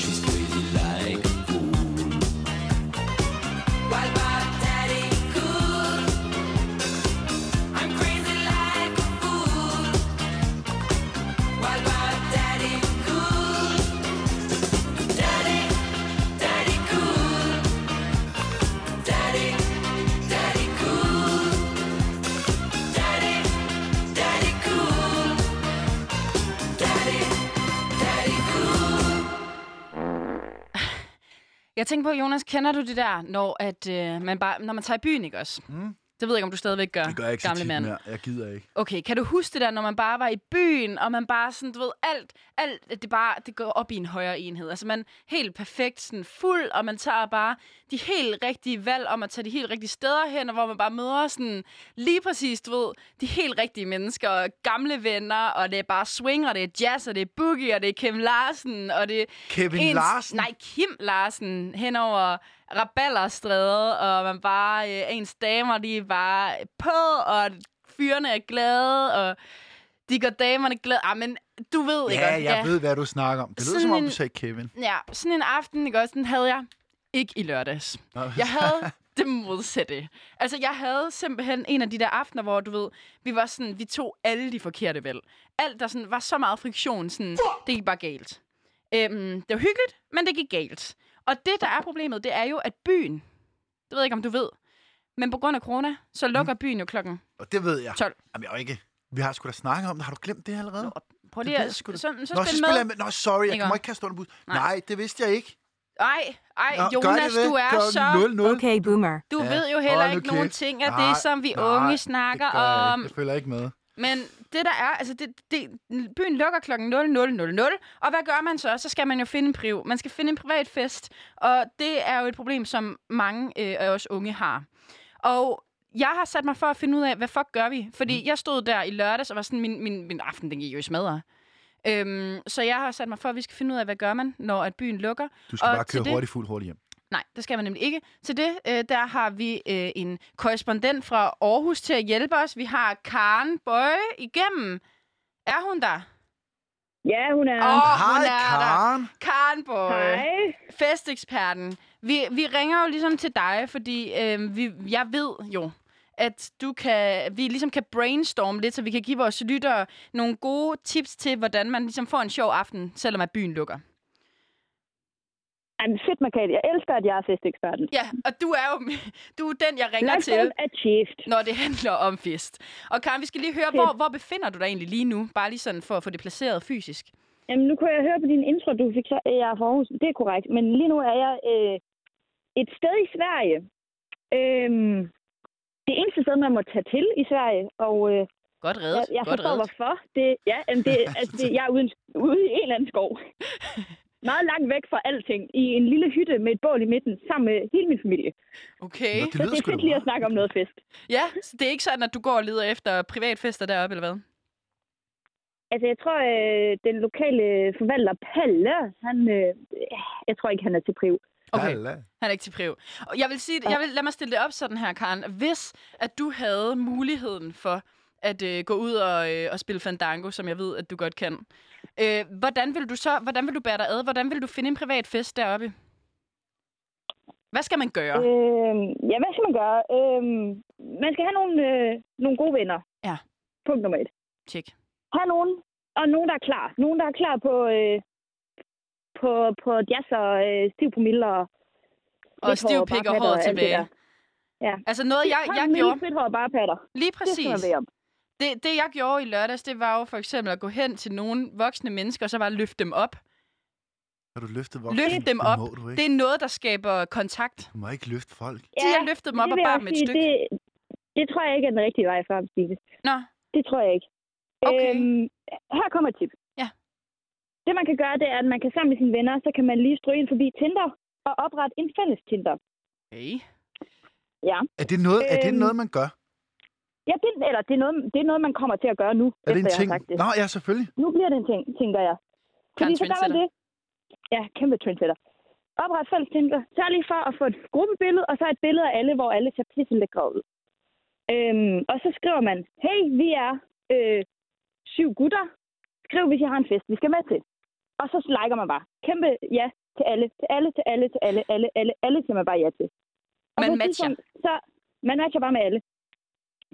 G: She's crazy like a fool.
H: What about Daddy Cool? I'm crazy like a fool. What about Daddy Cool? Daddy, Daddy Cool. Daddy, Daddy Cool. Daddy, Daddy Cool. Daddy, Daddy Cool.
B: Jeg tænker på, Jonas, kender du det der, når, at, øh, man, bare, når man tager i byen, ikke også? Mm. Det ved jeg ikke, om du stadigvæk gør,
A: Det gør jeg ikke så
B: gamle
A: tit
B: mand.
A: mere. Jeg gider ikke.
B: Okay, kan du huske det der, når man bare var i byen, og man bare sådan, du ved, alt, alt det, bare, det går op i en højere enhed. Altså man er helt perfekt, sådan fuld, og man tager bare de helt rigtige valg om at tage de helt rigtige steder hen, og hvor man bare møder sådan lige præcis, du ved, de helt rigtige mennesker, og gamle venner, og det er bare swing, og det er jazz, og det er boogie, og det er Kim Larsen, og det er...
A: Kevin Larsen?
B: Nej, Kim Larsen henover Raballerstræde, og man bare, øh, ens damer, de er bare på, og fyrene er glade, og de gør damerne glade. Ah, men du ved ikke.
A: Ja,
B: også?
A: jeg ved, hvad du snakker om. Det lyder
B: Sådan
A: som om,
B: en-
A: du sagde Kevin.
B: Ja, sådan en aften, ikke også, den havde jeg ikke i lørdags.
A: Nå,
B: Jeg havde det modsatte. Altså, jeg havde simpelthen en af de der aftener, hvor du ved, vi var sådan, vi tog alle de forkerte valg. Alt, der sådan, var så meget friktion, sådan, det gik bare galt. Øhm, det var hyggeligt, men det gik galt. Og det, der er problemet, det er jo, at byen, det ved jeg ikke, om du ved, men på grund af corona,
A: Mm.
B: så lukker byen jo klokken
A: Og det ved jeg.
B: 12.
A: Jamen, jeg er jo ikke... Vi har sgu da snakket om det. Har du glemt det allerede?
B: Prøv
A: Det
B: lige
A: ved
B: at
A: jeg
B: så,
A: sgu da.
B: så, så
A: Nå, så
B: spil
A: spiller jeg
B: med.
A: med. Nå, sorry, jeg
B: Ikke
A: kommer
B: også?
A: ikke kaste under bus. Nej.
B: Nej.
A: Nej, det vidste jeg ikke.
B: Ej, ej,
A: Nå, gør
B: Jonas,
A: det det?
B: du er
A: Klokken
B: så...
A: 00.
I: Okay, boomer.
B: Du
A: Ja.
B: ja. ved jo heller
A: Hold nu
B: ikke nogen
A: kæft.
B: ting af
A: Nej,
B: det, som vi
A: nej,
B: unge
A: det
B: snakker
A: gør jeg
B: om.
A: Ikke. Jeg følger ikke med.
B: Men det der er, altså det, det, byen lukker kl. 0000, og hvad gør man så? Så skal man jo finde en priv. Man skal finde en privat fest, og det er jo et problem, som mange øh, af os unge har. Og jeg har sat mig for at finde ud af, hvad fuck gør vi? Fordi mm. jeg stod der i lørdags og var sådan, min, min, min aften, den gik jo i smadre. Øhm, så jeg har sat mig for, at vi skal finde ud af, hvad gør man, når at byen lukker.
A: Du skal
B: Og
A: bare
B: til
A: køre
B: det-
A: hurtigt, fuld hurtigt hjem.
B: Nej, det skal man nemlig ikke. Til det, øh, der har vi øh, en korrespondent fra Aarhus til at hjælpe os. Vi har Karen Bøje igennem. Er hun der?
C: Ja, hun er.
B: Åh,
A: Hej,
B: hun er der.
A: Karen.
B: Karen Bøje.
C: Hej.
B: Festeksperten. Vi, vi ringer jo ligesom til dig, fordi øh, vi, jeg ved jo, at du kan, vi ligesom kan brainstorme lidt, så vi kan give vores lyttere nogle gode tips til, hvordan man ligesom får en sjov aften, selvom at byen lukker.
C: Jamen, fedt, Margrethe. Jeg elsker, at jeg er festeksperten.
B: Ja, og du er jo du er den, jeg ringer til.
C: Life achieved.
B: når det handler om fest. Og Karen, vi skal lige høre, hvor, hvor befinder du dig egentlig lige nu? Bare lige sådan for at få det placeret fysisk.
C: Jamen, nu kunne jeg høre på din intro, du fik så, øh, jeg er fra Aarhus. Det er korrekt. Men lige nu er jeg øh, et sted i Sverige. Øhm, det eneste sted, man må tage til i Sverige. Og øh,
B: Godt reddet,
C: jeg, jeg
B: godt
C: forstår,
B: reddet.
C: hvorfor. Det, ja, jamen, det, altså, det, jeg er ude, ude i en eller anden skov. Meget langt væk fra alting. I en lille hytte med et bål i midten, sammen med hele min familie.
B: Okay.
A: Nå, det
C: Så
A: lyder
C: det er
A: sgu da
C: fedt lige at
A: meget.
C: snakke om noget fest.
B: Ja, så det er ikke sådan, at du går og leder efter privatfester deroppe, eller hvad?
C: Altså, jeg tror, øh, den lokale forvalter, Palle, han, øh, jeg tror ikke, han er til priv.
B: Okay,
A: Lala.
B: han er ikke til priv. Og jeg vil sige, jeg vil, lad mig stille det op sådan her, Karen. Hvis at du havde muligheden for at øh, gå ud og, øh, og spille fandango, som jeg ved, at du godt kan, øh, hvordan vil du så, hvordan vil du bære dig ad? Hvordan vil du finde en privat fest deroppe? Hvad skal man gøre?
C: Øh, ja, hvad skal man gøre? Øh, man skal have nogle, øh, nogle gode venner.
B: Ja.
C: Punkt nummer et.
B: Tjek.
C: Have nogen, og nogen, der er klar. Nogen, der er klar på, øh, på, på jazz og øh, stiv promille og...
B: og stiv pik og hår tilbage.
C: Ja.
B: Altså noget, jeg, jeg gjorde,
C: Fedt hår og bare patter.
B: lige
C: Det skal man
B: præcis,
C: være om.
B: det, det jeg gjorde i lørdags, det var jo for eksempel at gå hen til nogle voksne mennesker, og så bare løfte dem op.
A: Har du løftet voksen?
B: Løft dem
A: Det
B: op.
A: Må du, ikke.
B: Det er noget, der skaber kontakt.
A: du må ikke løfte folk.
B: Ja, de har løftet dem op
C: det
B: og
C: vil jeg
B: bare med et
C: sige,
B: stykke.
C: Det, det tror jeg ikke er den rigtige vej frem, Stine.
B: Nå,
C: Det tror jeg ikke.
B: Okay.
C: Øhm, her kommer et tip.
B: Ja.
C: Det, man kan gøre, det er, at man kan sammen med sine venner, så kan man lige stryge ind forbi Tinder og oprette en fælles Tinder.
B: okay.
A: Er det noget, er det
C: Øhm,
A: noget man gør?
C: Ja, det, eller det er, noget, det er noget, man kommer til at gøre nu,
A: Er det en
C: jeg
A: ting?
C: har sagt det.
A: Nå, ja, selvfølgelig.
C: Nu bliver det en ting, tænker jeg. Fordi
B: Karen
C: så gør man
B: Trendsetter.
C: det. Ja, kæmpe trendsetter. Opret fælles Tinder. Sørg lige for at få et gruppebillede, og så et billede af alle, hvor alle ser pisse lækre ud. Øhm, og så skriver man, hey, vi er øh, syv gutter. Skriv, hvis jeg har en fest, vi skal med til. Og så liker man bare. Kæmpe ja til alle, til alle, til alle, til alle, alle, alle, alle siger man bare ja til. Og
B: Man
C: på et
B: matcher.
C: tidspunkt, Så, ligesom- man matcher bare med alle.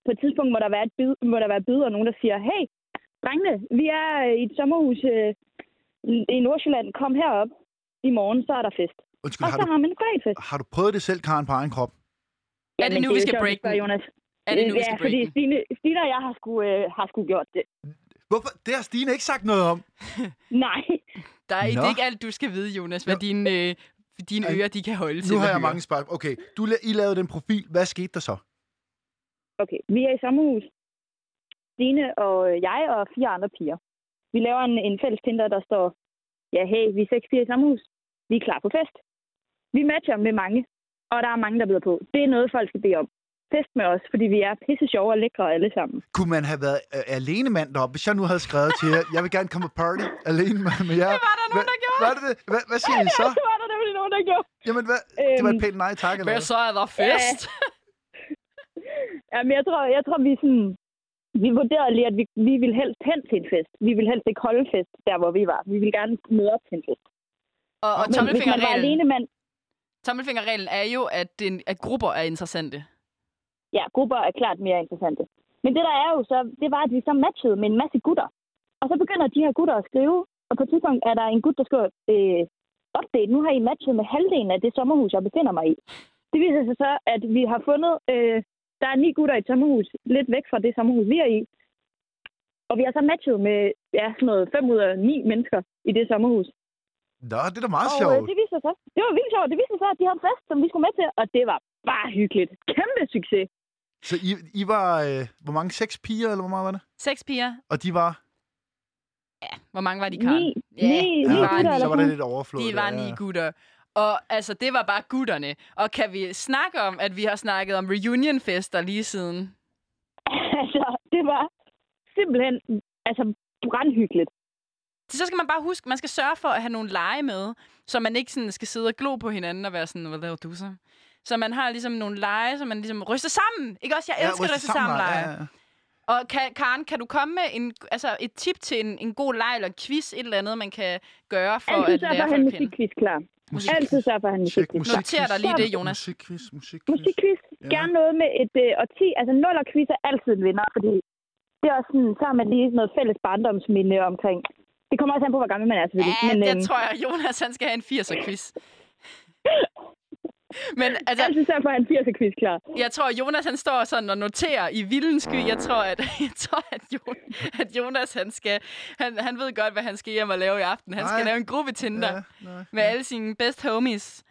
C: På et tidspunkt må der være et bid, må der være bid, og nogen, der siger, hey, drengene, vi er øh, i et sommerhus øh, i Nordsjælland. Kom herop i morgen, så er der fest.
A: Undskyld,
C: og
A: har
C: så
A: du,
C: har man en great fest.
A: har du prøvet det selv, Karen, på egen krop?
B: Er det
C: Jamen,
B: nu, vi
C: jo
B: skal
C: sjovt, du
B: break
C: spørger,
B: den?
C: Jonas.
B: Er det nu, vi
C: ja,
B: skal
C: fordi
B: break den?
C: Stine, Stine og jeg har sgu, øh, har sgu gjort det.
A: Hvorfor? Det har Stine ikke sagt noget om.
C: Nej,
B: Der er, det
A: Nå.
B: er ikke alt, du skal vide, Jonas, hvad dine, øh, dine
A: Ej,
B: ører de kan holde til.
A: Nu har
B: at
A: jeg
B: høre.
A: mange spørgsmål. Okay, du, la- I lavede den profil. Hvad skete der så?
C: okay. Vi er i sommerhus. Stine og øh, jeg og fire andre piger. Vi laver en, en fælles Tinder, der står, ja, hey, vi er seks piger i sommerhus. Vi er klar på fest. Vi matcher med mange, og der er mange, der byder på. Det er noget, folk skal bede om. Fest med os, fordi vi er pisse sjove og lækre alle sammen.
A: Kunne man have været øh, alene mand deroppe, hvis jeg nu havde skrevet til jer, jeg vil gerne komme på party alene med, med jer? Det
B: var der nogen, der gjorde.
A: Var det det? Hvad, hvad siger I så?
C: Det var der nemlig nogen, der gjorde.
A: Jamen, hvad? Det var et
C: Øhm,
A: pænt nej, tak. Eller
B: Hvad
A: hvad?
B: så er der fest?
C: Jamen, jeg tror, jeg tror vi sådan... Vi vurderede lige, at vi, vi ville helst hen til en fest. Vi ville helst ikke holde en fest, der hvor vi var. Vi ville gerne møde op til en fest.
B: Og, og
C: Men hvis man var
B: tommelfingerreglen,
C: alene, man...
B: tommelfingerreglen er jo, at, den, at grupper er interessante.
C: Ja, grupper er klart mere interessante. Men det der er jo så, det var, at vi så matchede med en masse gutter. Og så begynder de her gutter at skrive, og på et tidspunkt er der en gut, der skriver, øh, update, nu har I matchet med halvdelen af det sommerhus, jeg befinder mig i. Det viser sig så, at vi har fundet, øh, der er ni gutter i et sommerhus, lidt væk fra det sommerhus, vi er i. Og vi har så matchet med, ja, sådan noget 5 ud af 9 mennesker i det sommerhus.
A: Nå, det er da meget
J: Og øh,
A: sjovt.
J: det viste sig, så- det var vildt sjovt. Det viste sig, så, at de havde en fest, som vi skulle med til, og det var bare hyggeligt. Kæmpe succes.
A: Så I, I var, øh, hvor mange, seks piger, eller hvor meget var det?
B: Seks piger.
A: Og de var...
B: Hvor mange var de,
J: Ni,
B: Karen? Ja,
J: ni,
B: de
J: ni
B: var
J: gutter,
B: ni.
J: eller
A: så var
J: sådan
A: det
J: noget.
A: lidt overflået.
B: De var ni gutter. Og altså, det var bare gutterne. Og kan vi snakke om, at vi har snakket om reunionfester lige siden?
J: altså, det var simpelthen altså, brandhyggeligt.
B: Så skal man bare huske, man skal sørge for at have nogle lege med, så man ikke sådan skal sidde og glo på hinanden og være sådan, hvad laver du så? Så man har ligesom nogle lege, som man ligesom ryster sammen. Ikke også? Jeg elsker ja, ryster sammen, sammen lege.
A: ja, ja.
B: Og kan, Karen, kan du komme med en, altså et tip til en, en god leg eller en quiz, et eller andet, man kan gøre for
J: Altid
B: at
J: sørg for
B: lære
J: at have
B: folk
J: en
B: at kende?
J: musikquiz klar.
A: Musik-
J: Altid sørg for at have en
A: Tjek
J: musikquiz klar.
A: musikquiz.
B: Noter dig lige det, Jonas.
A: Musikquiz, musikquiz.
J: Musikquiz.
A: Ja.
J: Gerne noget med et øh, årti. Altså, nullerquiz er altid en vinder, fordi det er også sådan, så har man lige noget fælles barndomsminde omkring. Det kommer også an på, hvor gammel man er, selvfølgelig.
B: Ja, men, jeg
J: øhm,
B: tror, jeg, Jonas han skal have en 80'er-quiz. Men altså,
J: Altid sørg for at have en 80'er-quiz klar.
B: jeg tror, Jonas han står sådan og noterer i vildens sky. Jeg tror, at, jeg tror, at, Jon, at Jonas han skal... Han, han ved godt, hvad han skal hjem og lave i aften. Han
A: Nej.
B: skal lave en gruppe Tinder
A: Ja, nej.
B: med alle sine best homies.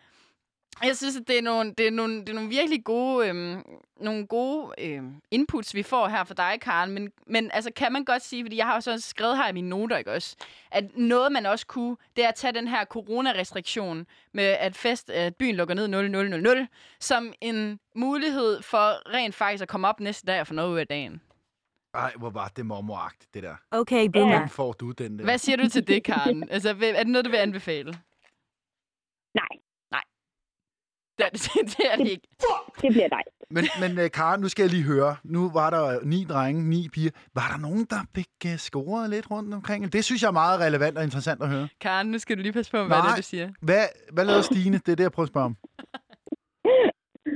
B: Jeg synes, at det er nogle, det er nogle, det er nogle virkelig gode, øhm, nogle gode øhm, inputs, vi får her fra dig, Karen. Men, men altså, kan man godt sige, fordi jeg har jo så skrevet her i mine noter, ikke også, at noget, man også kunne, det er at tage den her coronarestriktion med, at, fest, at byen lukker ned 0000, som en mulighed for rent faktisk at komme op næste dag og få noget ud af dagen.
A: Ej, hvor var det mormoragtigt, det der.
I: Okay,
J: Ja.
I: boomer.
A: Hvordan får du den der?
B: Hvad siger du til det, Karen? Altså, vil- er det noget, du vil anbefale?
J: Nej,
B: Det er det, det, er det ikke.
J: det bliver dig.
A: Men, men øh, Karen, nu skal jeg lige høre. Nu var der øh, ni drenge, ni piger. Var der nogen, der fik uh, scoret lidt rundt omkring? Det synes jeg er meget relevant og interessant at høre.
B: Karen, nu skal du lige passe på, hvad
A: Nej.
B: det er, du siger.
A: Hvad, hvad lavede Stine? Det er det, jeg prøver at spørge om.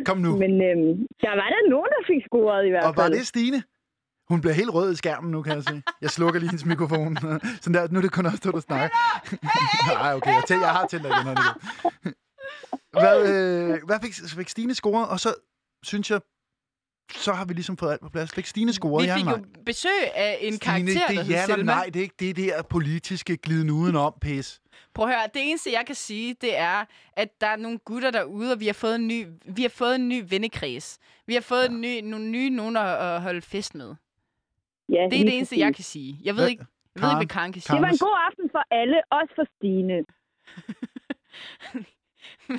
A: Kom nu.
J: Men øhm, der var der nogen, der fik scoret i hvert fald.
A: Og var det Stine? Hun bliver helt rød i skærmen nu, kan jeg se. Jeg slukker lige hendes mikrofon. Sådan der, nu er det kun os, to, der snakker. Nej, okay, jeg, tæ- jeg har tændt igen. Hanne. Hvad, øh, hvad fik, fik Stine scoret? Og så synes jeg, så har vi ligesom fået alt på plads. Fik Stine scoret?
B: Vi
A: ja,
B: fik
A: nej?
B: jo besøg af en karakter,
A: Stine, det
B: der
A: er
B: hed
A: ja eller
B: Selma.
A: nej, det er ikke det der politiske gliden udenom, pis.
B: Prøv at høre, det eneste, jeg kan sige, det er, at der er nogle gutter derude, og vi har fået en ny, vi har fået en ny vennekreds. Vi har fået ja. en ny, nogle nye nogen at, at holde fest med.
J: Ja,
B: Det er
J: lige
B: det eneste,
J: præcis.
B: jeg kan sige. Jeg ved
A: Hvad-
B: ikke, jeg ved ikke hvad
A: Karen,
B: Karen kan sige.
J: Det var en
A: Anders.
J: god aften for alle, også for Stine.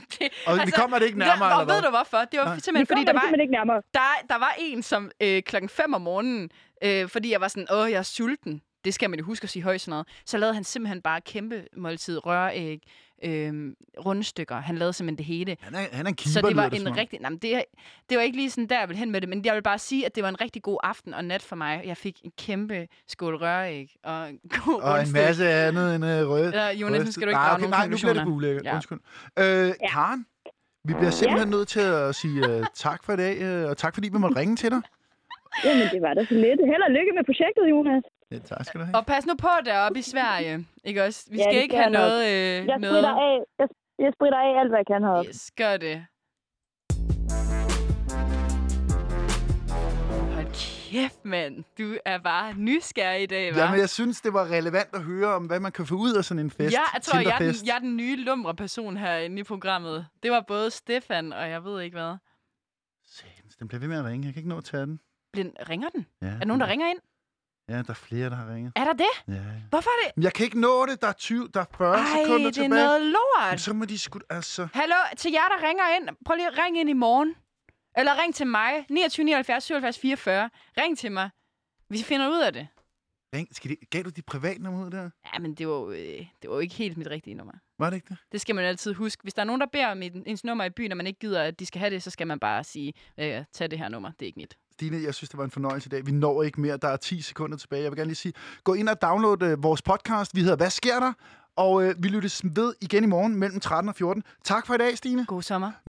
B: det,
A: Og vi kommer det ikke nærmere,
B: der,
A: eller
B: og ved
A: hvad?
B: du hvorfor? Det var
A: Nej.
J: Men
B: simpelthen,
J: fordi
B: fordi der var,
J: simpelthen ikke nærmere.
B: der, der var en, som øh, klokken 5 om morgenen, øh, fordi jeg var sådan, åh, jeg er sulten. Det skal man jo huske at sige højt sådan noget. Så lavede han simpelthen bare kæmpe måltid røræg, øh, rundstykker. Han lavede simpelthen det hele.
A: Han er, han er en keeper,
B: Så det var
A: lyder som
B: en
A: om.
B: rigtig... Nej, men det, det var ikke lige sådan, der jeg ville hen med det, men jeg vil bare sige, at det var en rigtig god aften og nat for mig. Jeg fik en kæmpe skål røræg og en god
A: Og en
B: rundstykke.
A: masse andet end øh, rød.
B: Ja, Jonas, nu skal du ikke
A: nej,
B: drage
A: Ah, okay,
B: nogen
A: nej, nu bliver det
B: konklusioner.
A: ulækkert. Ja.
B: Ja.
A: Undskyld. Øh, Karen, vi bliver simpelthen nødt til at sige øh, tak for i dag, øh, og tak fordi vi måtte ringe til dig.
J: Jamen, det var da så lidt. Held og lykke med projektet, Jonas.
A: Ja, tak skal du have.
B: Og pas nu på deroppe i Sverige, ikke også? Vi
J: Ja,
B: skal
J: det
B: ikke
J: skal
B: have
J: jeg nok.
B: noget... Øh,
J: Jeg spritter
B: noget.
J: af, jeg, jeg spritter af alt, hvad jeg kan heroppe.
B: Yes, gør det. Hold kæft, mand. Du er bare nysgerrig i dag, hva'?
A: Jamen, jeg synes, det var relevant at høre om, hvad man kan få ud af sådan en fest.
B: Ja, jeg tror, jeg er,
A: Tinderfest.
B: den, jeg er den nye lumre person herinde i programmet. Det var både Stefan og jeg ved ikke hvad.
A: Satans, Den bliver ved med at ringe. Jeg kan ikke nå at tage den.
B: Blind, ringer den?
A: Ja,
B: Er der nogen, der ringer ind?
A: Ja, der er flere, der har ringet.
B: Er der det?
A: Ja, ja.
B: Hvorfor er det?
A: Men jeg kan ikke nå det. Der er 20, der er 40
B: Ej,
A: sekunder
B: det er
A: tilbage.
B: noget
A: Men
B: lort.
A: så må de sgu... Altså...
B: Hallo, til jer, der ringer ind. Prøv lige at ringe ind i morgen. Eller ring til mig. 29 79 77 44. Ring til mig. Vi finder ud af det.
A: Ring. Skal de, gav du dit privatnummer ud der?
B: Ja, men det var, jo, øh, det var jo ikke helt mit rigtige nummer.
A: Var det ikke det?
B: Det skal man altid huske. Hvis der er nogen, der beder om et- ens nummer i byen, og man ikke gider, at de skal have det, så skal man bare sige, øh, tag det her nummer. Det er ikke mit.
A: Stine, jeg synes, det var en fornøjelse i dag. Vi når ikke mere. Der er 10 sekunder tilbage. Jeg vil gerne lige sige, gå ind og download øh, vores podcast. Vi hedder Hvad sker der? Og øh, vi lyttes ved igen i morgen mellem 13 og 14. Tak for i dag, Stine.
B: God sommer.